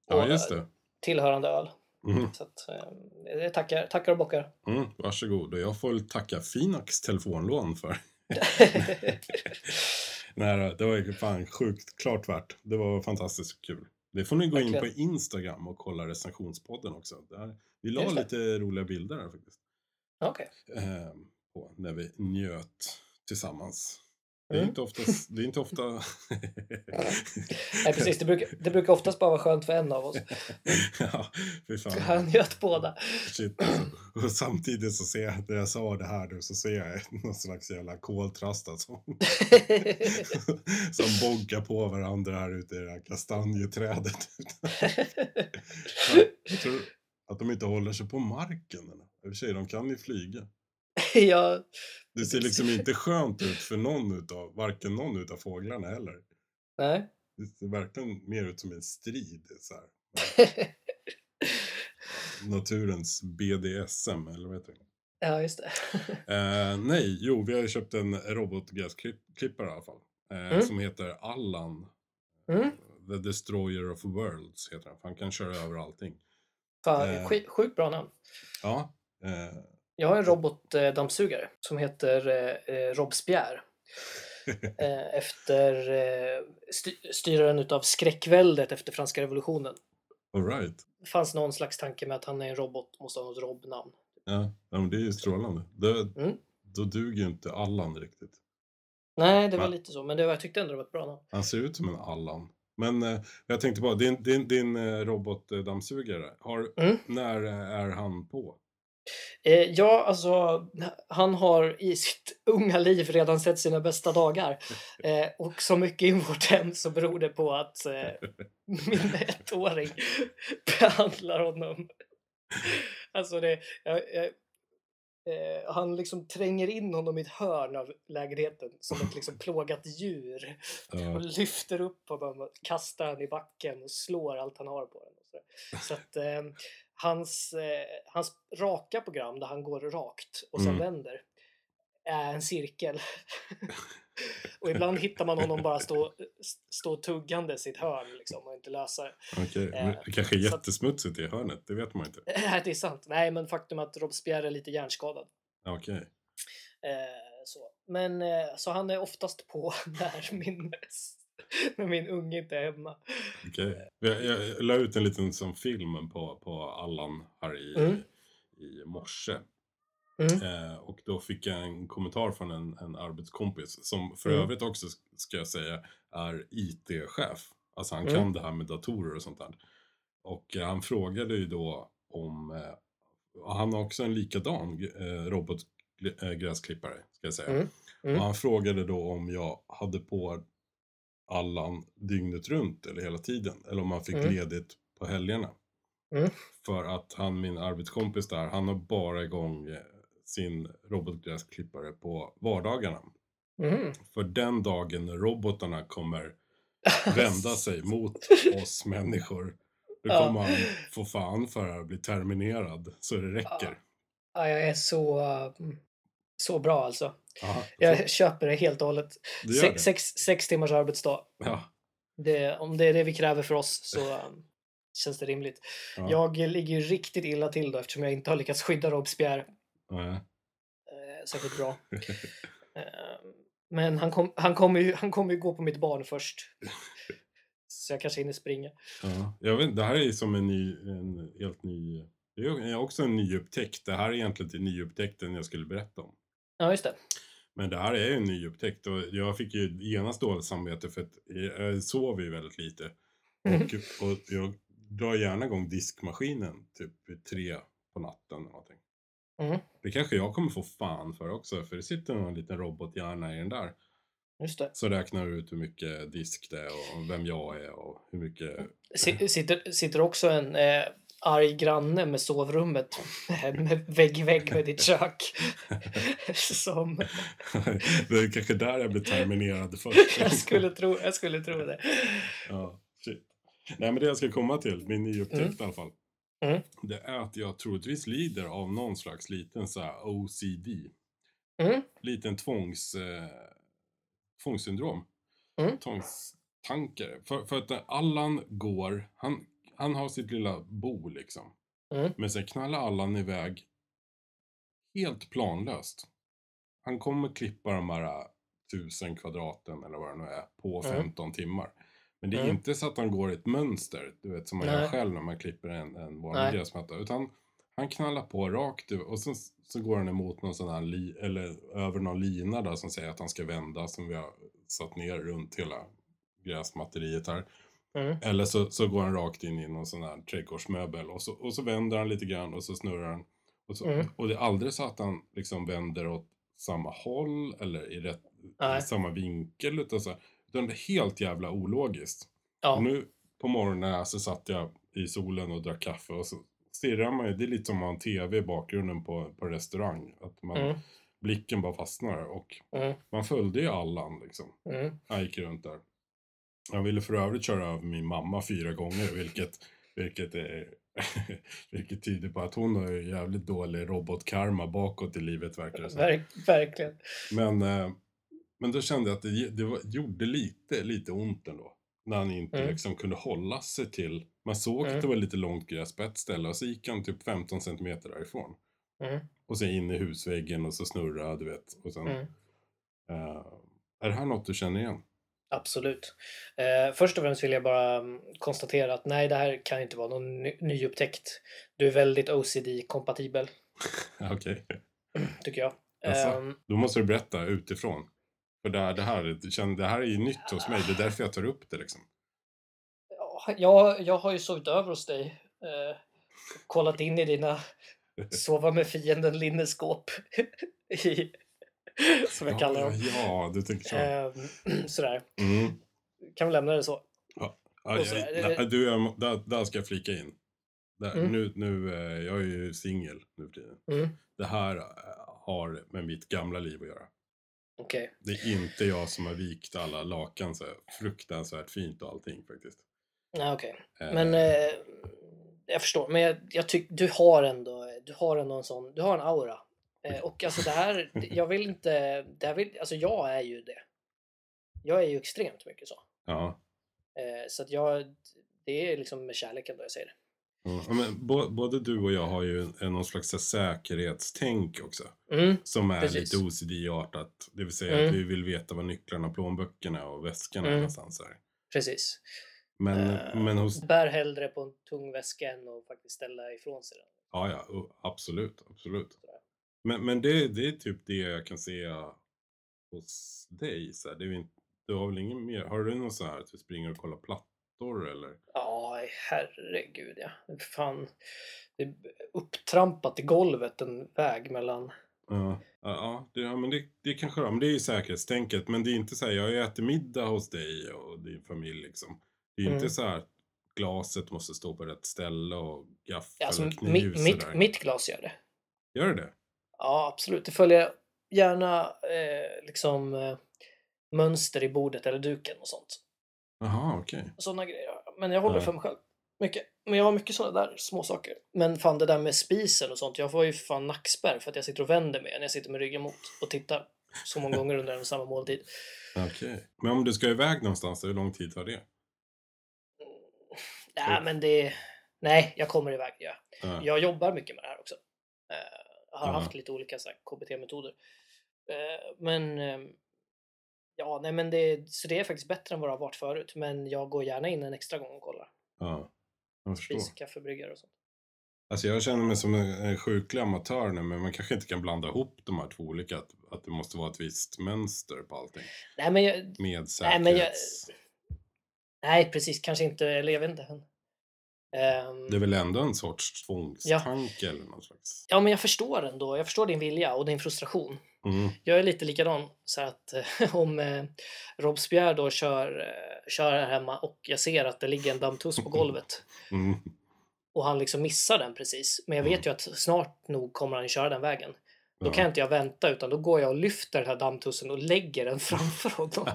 Speaker 2: Ja,
Speaker 1: Och
Speaker 2: just det.
Speaker 1: tillhörande öl.
Speaker 2: Mm.
Speaker 1: Så att, ehm, det tackar, tackar och bockar.
Speaker 2: Mm, varsågod. Och jag får väl tacka Finax telefonlån för. Nej, då, det var ju fan sjukt klart värt. Det var fantastiskt kul. Det får ni gå in på
Speaker 1: Verkligen.
Speaker 2: Instagram och kolla recensionspodden också. Där, vi la
Speaker 1: Just det.
Speaker 2: lite roliga bilder där faktiskt.
Speaker 1: Okej.
Speaker 2: Eh, på när vi njöt tillsammans. Det är
Speaker 1: Mm.
Speaker 2: inte oftast... Det är inte ofta...
Speaker 1: Nej, precis. Det brukar, det brukar oftast bara vara skönt för en av oss.
Speaker 2: ja, fy fan.
Speaker 1: Han njöt båda.
Speaker 2: Shit, alltså. Och samtidigt så ser jag, när jag sa det här nu, så ser jag någon slags jävla alltså. koltrasta som, som boggar på varandra här ute i det här kastanjeträdet. jag tror att de inte håller sig på marken. Eller? I och för sig, de kan ju flyga.
Speaker 1: ja,
Speaker 2: Det ser liksom inte skönt ut för någon utav, varken någon utav fåglarna heller.
Speaker 1: nej.
Speaker 2: Det ser verkligen mer ut som en strid. Så här. Naturens BDSM, eller vad heter det?
Speaker 1: ja, just det.
Speaker 2: Eh, nej, jo, vi har ju köpt en robotgräsklippare i alla fall. Eh,
Speaker 1: Mm.
Speaker 2: Som heter Allan. Eh,
Speaker 1: Mm.
Speaker 2: The Destroyer of Worlds heter han. för Han kan köra över allting.
Speaker 1: Fan,
Speaker 2: Eh.
Speaker 1: skit- sjukt bra namn.
Speaker 2: Ja. Eh,
Speaker 1: Jag har en robotdammsugare som heter eh, eh, Robespierre. Eh, efter eh, sty- styraren utav skräckväldet efter franska revolutionen.
Speaker 2: Alright.
Speaker 1: Det fanns någon slags tanke med att han är en robot, måste ha något robbnamn.
Speaker 2: Ja, ja, men det är ju strålande. Det,
Speaker 1: Mm.
Speaker 2: Då duger ju inte Allan riktigt.
Speaker 1: Nej, det var
Speaker 2: Va?
Speaker 1: lite så, men det var, jag tyckte ändå det var ett bra namn.
Speaker 2: Han ser ut som en Allan. Men eh, jag tänkte bara, din, din, din eh, robotdammsugare, har,
Speaker 1: Mm.
Speaker 2: när eh, är han på?
Speaker 1: Eh, ja, alltså, han har i sitt unga liv redan sett sina bästa dagar. Eh, och så mycket i vårt hem så beror det på att eh, min ettåring behandlar honom. Alltså, det, jag, jag, eh, han liksom tränger in honom i ett hörn av lägenheten som ett liksom plågat djur.
Speaker 2: Eh,
Speaker 1: och lyfter upp honom och kastar han i backen och slår allt han har på den. Och så där. så att eh, hans, eh, hans raka program där han går rakt och sen
Speaker 2: Mm.
Speaker 1: vänder är en cirkel. och ibland hittar man honom bara stå, stå tuggandes i ett hörn liksom, och inte lösa det.
Speaker 2: Okej, men
Speaker 1: eh,
Speaker 2: det kanske är
Speaker 1: så att-
Speaker 2: jättesmutsigt i hörnet, det vet man ju inte.
Speaker 1: Nej, det är sant. Nej, men faktum att Robespierre är lite hjärnskadad.
Speaker 2: Okej.
Speaker 1: Eh, så. Men, eh, så han är oftast på när min, när min unge inte är hemma.
Speaker 2: Okej. Jag, jag la ut en liten sån film på, på Allan här i,
Speaker 1: Mm.
Speaker 2: i morse.
Speaker 1: Mm.
Speaker 2: Eh, och då fick jag en kommentar från en, en arbetskompis som för
Speaker 1: Mm.
Speaker 2: övrigt också, ska jag säga, är IT-chef. Alltså han
Speaker 1: Mm.
Speaker 2: kan det här med datorer och sånt där. Och eh, han frågade ju då om, eh, och han har också en likadan eh, robotgräsklippare, ska jag säga.
Speaker 1: Mm. Mm.
Speaker 2: Och han frågade då om jag hade på Allan dygnet runt eller hela tiden. Eller om han fick
Speaker 1: Mm.
Speaker 2: ledigt på helgerna.
Speaker 1: Mm.
Speaker 2: För att han, min arbetskompis där, han har bara igång eh, sin robotgräsklippare på vardagarna.
Speaker 1: Mm.
Speaker 2: För den dagen robotarna kommer vända sig mot oss människor. Då
Speaker 1: Ja.
Speaker 2: kommer han få fan för att bli terminerad så det räcker.
Speaker 1: Ja, jag är så, uh, så bra alltså.
Speaker 2: Ja,
Speaker 1: Jag köper det helt och hållet.
Speaker 2: det gör
Speaker 1: Sex,
Speaker 2: det.
Speaker 1: sex, sex timmars arbetsdag.
Speaker 2: Ja,
Speaker 1: Det, om det är det vi kräver för oss så um, känns det rimligt.
Speaker 2: Ja.
Speaker 1: Jag ligger ju riktigt illa till då eftersom jag inte har lyckats skydda Robespierre
Speaker 2: nej.
Speaker 1: eh, särskilt bra. Eh, men han kommer han kom ju, han kom ju gå på mitt barn först. Så jag kanske hinner springa.
Speaker 2: Ja, jag vet, det här är ju som en ny, en helt ny, det är ju också en ny upptäckt. Det här är egentligen inte nyupptäckten jag skulle berätta om.
Speaker 1: Ja, just det.
Speaker 2: Men det här är ju en nyupptäckt och jag fick ju genast dåligt samvete för att jag sover ju väldigt lite. Och, och jag drar gärna igång diskmaskinen typ vid tre på natten eller någonting.
Speaker 1: Mhm.
Speaker 2: Det kanske jag kommer få fan för också, för det sitter någon liten robothjärna i den där.
Speaker 1: Just det.
Speaker 2: Så räknar du ut hur mycket disk det är och vem jag är och hur mycket
Speaker 1: Si- Sitter, sitter också en eh, arg granne med sovrummet med vägg i vägg med ditt kök. Som
Speaker 2: det är kanske där jag blir terminerad först.
Speaker 1: jag skulle tro, jag skulle tro det.
Speaker 2: Ja, shit. Nej, men det jag ska komma till, min nyupptäckt
Speaker 1: Mm.
Speaker 2: i alla fall.
Speaker 1: Mm.
Speaker 2: Det är att jag troligtvis lider av någon slags liten så här OCD.
Speaker 1: Mm.
Speaker 2: Liten tvångs... Eh, tvångssyndrom.
Speaker 1: Mm.
Speaker 2: Tvångstanke. För, för att när Allan går, han, han har sitt lilla bo liksom.
Speaker 1: Mm.
Speaker 2: Men sen knallar Allan iväg helt planlöst. Han kommer klippa de här eh, tusen kvadraten eller vad det nu är på
Speaker 1: Mm.
Speaker 2: 15 timmar. Men det är
Speaker 1: Mm.
Speaker 2: inte så att han går i ett mönster, du vet som man
Speaker 1: Nej.
Speaker 2: gör själv när man klipper en, en vanlig
Speaker 1: Nej.
Speaker 2: gräsmatta. Utan han knallar på rakt ut och sen s- så går han emot någon sån här li, eller över någon lina där som säger att han ska vända som vi har satt ner runt hela gräsmatteriet här.
Speaker 1: Mm.
Speaker 2: Eller så, så går han rakt in i någon sån här trädgårdsmöbel och så, och så vänder han lite grann och så snurrar han. Och, så,
Speaker 1: Mm.
Speaker 2: och det är aldrig så att han liksom vänder åt samma håll eller i rätt
Speaker 1: Nej.
Speaker 2: i samma vinkel. Utan, så, här- utan det är helt jävla ologiskt.
Speaker 1: Ja.
Speaker 2: Och nu på morgonen här så satt jag i solen och drack kaffe och så stirrar man ju. Det är lite som att ha en tv i bakgrunden på, på restaurang. Att man,
Speaker 1: Mm.
Speaker 2: blicken bara fastnar och
Speaker 1: Mm.
Speaker 2: man följde ju Allan liksom.
Speaker 1: Mm.
Speaker 2: Han gick runt där. Han ville för övrigt köra över min mamma fyra gånger, vilket, vilket, är, vilket tyder på att hon har ju jävligt dålig robotkarma bakåt i livet verkar det som.
Speaker 1: Verk, verkligen.
Speaker 2: Men, eh, men då kände jag att det, ge- det var, gjorde lite, lite ont ändå. När han inte
Speaker 1: Mm.
Speaker 2: liksom kunde hålla sig till, man såg
Speaker 1: Mm.
Speaker 2: att det var lite långt gräs på ett ställe och så gick han typ 15 centimeter därifrån.
Speaker 1: Mm.
Speaker 2: Och sen in i husväggen och så snurrade, du vet. Och sen,
Speaker 1: Mm.
Speaker 2: eh, är det här något du känner igen?
Speaker 1: Absolut. Eh, först och främst vill jag bara mm, konstatera att nej, det här kan inte vara någon ny, nyupptäckt. Du är väldigt OCD-kompatibel,
Speaker 2: Okej.
Speaker 1: tycker jag.
Speaker 2: Jaså?
Speaker 1: Ehm,
Speaker 2: Då måste du berätta utifrån. För det här, det här, det känner- det här är ju nytt hos mig, det är därför jag tar upp det liksom.
Speaker 1: Ja, jag, jag har ju sovit över hos dig. Eh, kollat in i dina sova med fienden linneskåp. i, som jag kallar
Speaker 2: ja,
Speaker 1: dem.
Speaker 2: ja, du tänker så.
Speaker 1: Ehm, sådär.
Speaker 2: Mm.
Speaker 1: Kan vi lämna det så.
Speaker 2: Aj,
Speaker 1: så-
Speaker 2: aj, nej, du, jag må- där, där ska jag flika in. Där,
Speaker 1: Mm.
Speaker 2: nu, nu, eh, jag är ju singel nu för tiden.
Speaker 1: Mm.
Speaker 2: Det här eh, har med mitt gamla liv att göra.
Speaker 1: Okej.
Speaker 2: Det är inte jag som har vikt alla lakan så här fruktansvärt fint och allting faktiskt.
Speaker 1: Nej, okej.
Speaker 2: Eh,
Speaker 1: Men eh, jag förstår. Men jag, jag tycker du har ändå, du har ändå en sån, du har en aura. Eh, och alltså det här, jag vill inte, det här vill, alltså jag är ju det. Jag är ju extremt mycket så.
Speaker 2: Ja.
Speaker 1: Eh, så att jag, det är liksom med kärleken då jag säger det.
Speaker 2: Mm. Ja, Men bo, både du och jag har ju en, en någon slags så här säkerhetstänk också.
Speaker 1: Mm,
Speaker 2: Som är
Speaker 1: Precis.
Speaker 2: lite OCD-artat. Det vill säga
Speaker 1: Mm.
Speaker 2: att vi vill veta var nycklarna, plånböckerna och väskan är
Speaker 1: Mm.
Speaker 2: någonstans. Här.
Speaker 1: precis.
Speaker 2: Men,
Speaker 1: Eh,
Speaker 2: men hos...
Speaker 1: Bär hellre på en tung väska än att faktiskt ställa ifrån sig den.
Speaker 2: Ja, ja, o- absolut, absolut. Men, men det, det är typ det jag kan se hos dig. Så här. Det är ju inte, du har väl ingen mer? Har du något så här att du springer och kollar plattor eller?
Speaker 1: Ja, herregud ja. Fan. Det är upptrampat i golvet en väg mellan...
Speaker 2: Ja, ja, ja, det, ja men det, det kanske det Men det är ju säkerhetstänket. Men det är inte så här, jag äter middag hos dig och din familj liksom. Det är ju
Speaker 1: Mm.
Speaker 2: inte så här, glaset måste stå på rätt ställe och gaffel
Speaker 1: Alltså,
Speaker 2: och
Speaker 1: mi,
Speaker 2: kniv
Speaker 1: mitt,
Speaker 2: sådär.
Speaker 1: mitt glas gör det.
Speaker 2: Gör det
Speaker 1: Ja, absolut. Det följer gärna eh, liksom eh, mönster i bordet eller duken och sånt.
Speaker 2: Jaha, okej.
Speaker 1: Sådana grejer. Men jag håller
Speaker 2: Ja.
Speaker 1: för mig själv. Mycket. Men jag har mycket sådana där små saker. Men fan det där med spisen och sånt. Jag får ju fan nackspärr för att jag sitter och vänder mig när jag sitter med ryggen mot och tittar så många gånger under en och samma måltid.
Speaker 2: Okej. Men om du ska iväg någonstans, hur lång tid tar det?
Speaker 1: Nej, men det... Nej, jag kommer iväg. Ja.
Speaker 2: Typ. Ja.
Speaker 1: Jag jobbar mycket med det här också. Eh, Jag har
Speaker 2: Ja.
Speaker 1: haft lite olika så här KBT-metoder. Eh, Men... ehm, Ja, nej men det, så det är faktiskt bättre än vad det har varit förut. Men jag går gärna in en extra gång och kollar.
Speaker 2: ja. Jag förstår.
Speaker 1: Spis, kaffebryggare och sånt.
Speaker 2: Alltså jag känner mig som en, en sjuklig amatör nu, men man kanske inte kan blanda ihop de här två olika. Att, att det måste vara ett visst mönster på allting.
Speaker 1: Nej, men jag,
Speaker 2: Med
Speaker 1: Nej, men jag-
Speaker 2: säkerhets...
Speaker 1: nej precis. Kanske inte. Eller jag vet inte. Ehm,
Speaker 2: Det är väl ändå en sorts tvångstanke eller någon slags.
Speaker 1: Ja, men jag förstår ändå. Jag förstår din vilja och din frustration.
Speaker 2: Mm.
Speaker 1: Jag är lite likadan. Så att eh, om eh, Robespierre då kör, eh, kör här hemma och jag ser att det ligger en dammtuss på golvet
Speaker 2: Mm.
Speaker 1: och han liksom missar den precis. Men jag vet
Speaker 2: Mm.
Speaker 1: ju att snart nog kommer han köra den vägen. Då
Speaker 2: Ja.
Speaker 1: kan inte jag vänta utan då går jag och lyfter den här dammtussen och lägger den framför honom.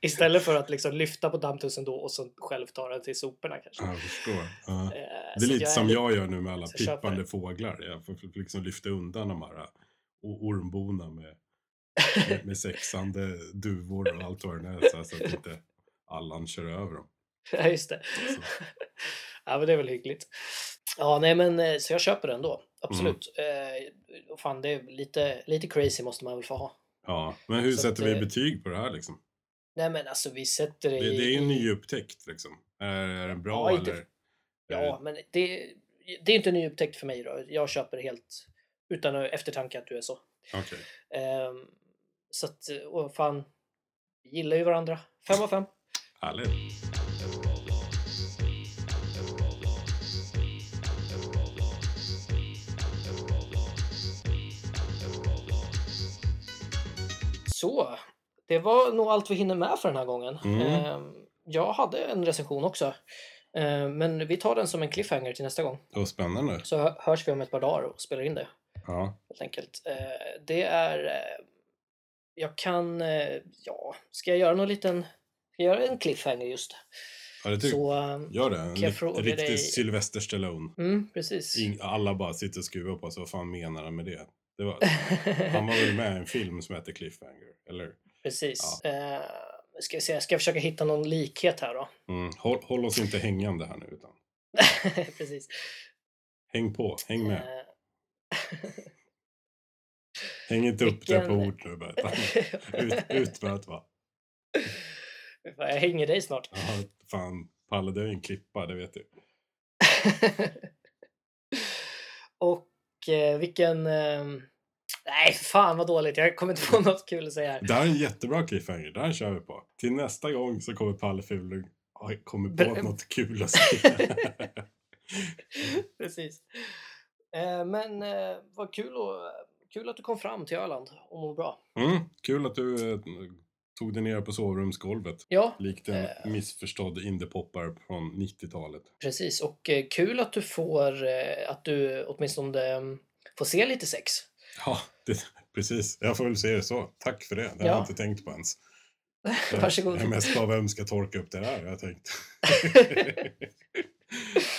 Speaker 1: Istället för att liksom lyfta på dammtussen då och så själv ta den till soporna kanske.
Speaker 2: Ja, Jag förstår. Ja.
Speaker 1: Eh, så
Speaker 2: Det
Speaker 1: att
Speaker 2: är lite
Speaker 1: jag
Speaker 2: som
Speaker 1: li-
Speaker 2: jag gör nu med alla
Speaker 1: så jag köper
Speaker 2: pippande
Speaker 1: det.
Speaker 2: fåglar. Jag får liksom lyfta undan de här o- ormbona med, med, med sexande duvor och allt vad det nu är. Så, här, så att inte Allan kör över dem.
Speaker 1: Ja, just det.
Speaker 2: Så.
Speaker 1: ja, men det är väl hyggligt. Ja, nej, men eh, så jag köper den då. Absolut.
Speaker 2: Mm.
Speaker 1: Eh, och fan, det är lite, lite crazy måste man väl få ha.
Speaker 2: Ja, men hur
Speaker 1: Så att,
Speaker 2: sätter vi
Speaker 1: eh,
Speaker 2: betyg på det här liksom?
Speaker 1: Nej men alltså vi sätter det
Speaker 2: Det,
Speaker 1: i...
Speaker 2: det är ju en nyupptäckt liksom. Är, är den bra
Speaker 1: Ja, inte-
Speaker 2: eller?
Speaker 1: Ja, men det, det är inte en nyupptäckt för mig då. Jag köper helt utan eftertanke att du är så.
Speaker 2: Okej.
Speaker 1: Ehm, så att, och fan, vi gillar ju varandra. Fem av fem.
Speaker 2: Härligt.
Speaker 1: Så, det var nog allt vi hinner med för den här gången.
Speaker 2: Mm.
Speaker 1: Ehm, jag hade en recension också. Ehm, men vi tar den som en cliffhanger till nästa gång.
Speaker 2: Det var spännande.
Speaker 1: Så hö- hörs vi om ett par dagar och spelar in det.
Speaker 2: Ja.
Speaker 1: helt enkelt. Eh, det är... Eh, jag kan... Eh, ja, ska jag göra någon liten... Ska jag göra en cliffhanger just?
Speaker 2: ja det tycker
Speaker 1: Så... Eh,
Speaker 2: Gör det. En
Speaker 1: Kan jag
Speaker 2: rik-
Speaker 1: fråga
Speaker 2: riktig
Speaker 1: dig-
Speaker 2: Sylvester Stallone.
Speaker 1: mm, precis.
Speaker 2: Ing- alla bara sitter och skruvar på sig. Vad fan menar han med det? det var, han var väl med i en film som heter Cliffhanger, eller?
Speaker 1: precis. Eh, ska vi se, ska jag försöka hitta någon likhet här då?
Speaker 2: Mm. Håll, håll oss inte hängande här nu, utan
Speaker 1: precis.
Speaker 2: häng på, häng med.
Speaker 1: Eh,
Speaker 2: Häng inte upp det på
Speaker 1: vilken-
Speaker 2: ord nu, bara. utan Ut, ut med att va?
Speaker 1: Fan, jag hänger dig snart.
Speaker 2: Ja, fan, Palle, det är ju en klippa, det vet du.
Speaker 1: Och eh, vilken... Eh, nej, fan vad dåligt. Jag kommer inte på något kul att säga här.
Speaker 2: Det här är en jättebra cliffhanger, det här kör vi på. Till nästa gång så kommer Palle Fuling ha kommit på
Speaker 1: Bra.
Speaker 2: något kul att säga.
Speaker 1: Precis. Eh, men eh, vad kul, och, kul att du kom fram till Öland och mår bra.
Speaker 2: Mm, kul att du eh, tog dig ner på sovrumsgolvet.
Speaker 1: Ja,
Speaker 2: Likt en missförstådd indiepoppare från 90-talet.
Speaker 1: precis. Och eh, kul att du får, eh, att du åtminstone eh, får se lite sex.
Speaker 2: Ja, det, precis. Jag får väl se det så. Tack för det. Det
Speaker 1: Ja.
Speaker 2: har jag inte tänkt på ens.
Speaker 1: Varsågod.
Speaker 2: Jag är mest bara, vem ska torka upp det här? Jag har tänkt.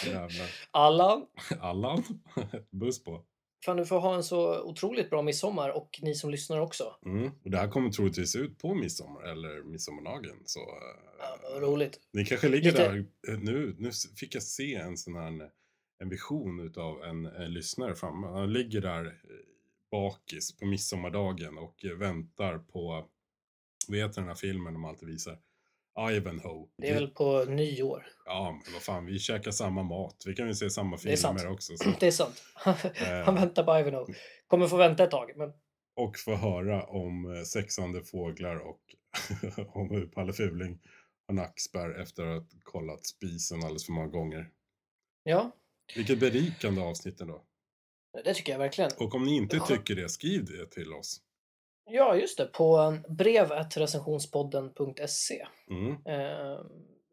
Speaker 2: Jävlar.
Speaker 1: Allan,
Speaker 2: Allan, buss på.
Speaker 1: fan du får ha en så otroligt bra midsommar och ni som lyssnar också.
Speaker 2: Mm. Och det här kommer troligtvis ut på midsommar eller midsommardagen. Så,
Speaker 1: Ja,
Speaker 2: eh,
Speaker 1: vad roligt.
Speaker 2: ni kanske ligger
Speaker 1: Lite-
Speaker 2: där. eh, Nu, nu s- fick jag se en sån här en vision utav en, en lyssnare framme. Han ligger där eh, bakis på midsommardagen och eh, väntar på, vet ni den här filmen de alltid visar? Ivanhoe.
Speaker 1: Det är väl på nyår.
Speaker 2: Ja, men vad fan, vi käkar samma mat. Vi kan ju se samma
Speaker 1: Det är sant.
Speaker 2: filmer också. Så,
Speaker 1: Det är sant.
Speaker 2: eh,
Speaker 1: Han väntar på Ivanhoe. Kommer få vänta ett tag, men
Speaker 2: och få höra om eh, sexande fåglar och om hur Palle Fuling har nackspärr efter att ha kollat spisen alldeles för många gånger.
Speaker 1: ja,
Speaker 2: Vilket berikande avsnitt ändå.
Speaker 1: det tycker jag verkligen.
Speaker 2: Och om ni inte
Speaker 1: Ja.
Speaker 2: tycker det, skriv det till oss.
Speaker 1: Ja, just det. På brev@recensionspodden.se.
Speaker 2: Mm,
Speaker 1: Eh,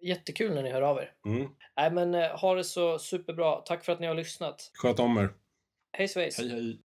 Speaker 1: jättekul när ni hör av er.
Speaker 2: mm.
Speaker 1: Nej, men eh, ha det så superbra. Tack för att ni har lyssnat.
Speaker 2: Sköt om er.
Speaker 1: Hej svejs!
Speaker 2: Hej hej.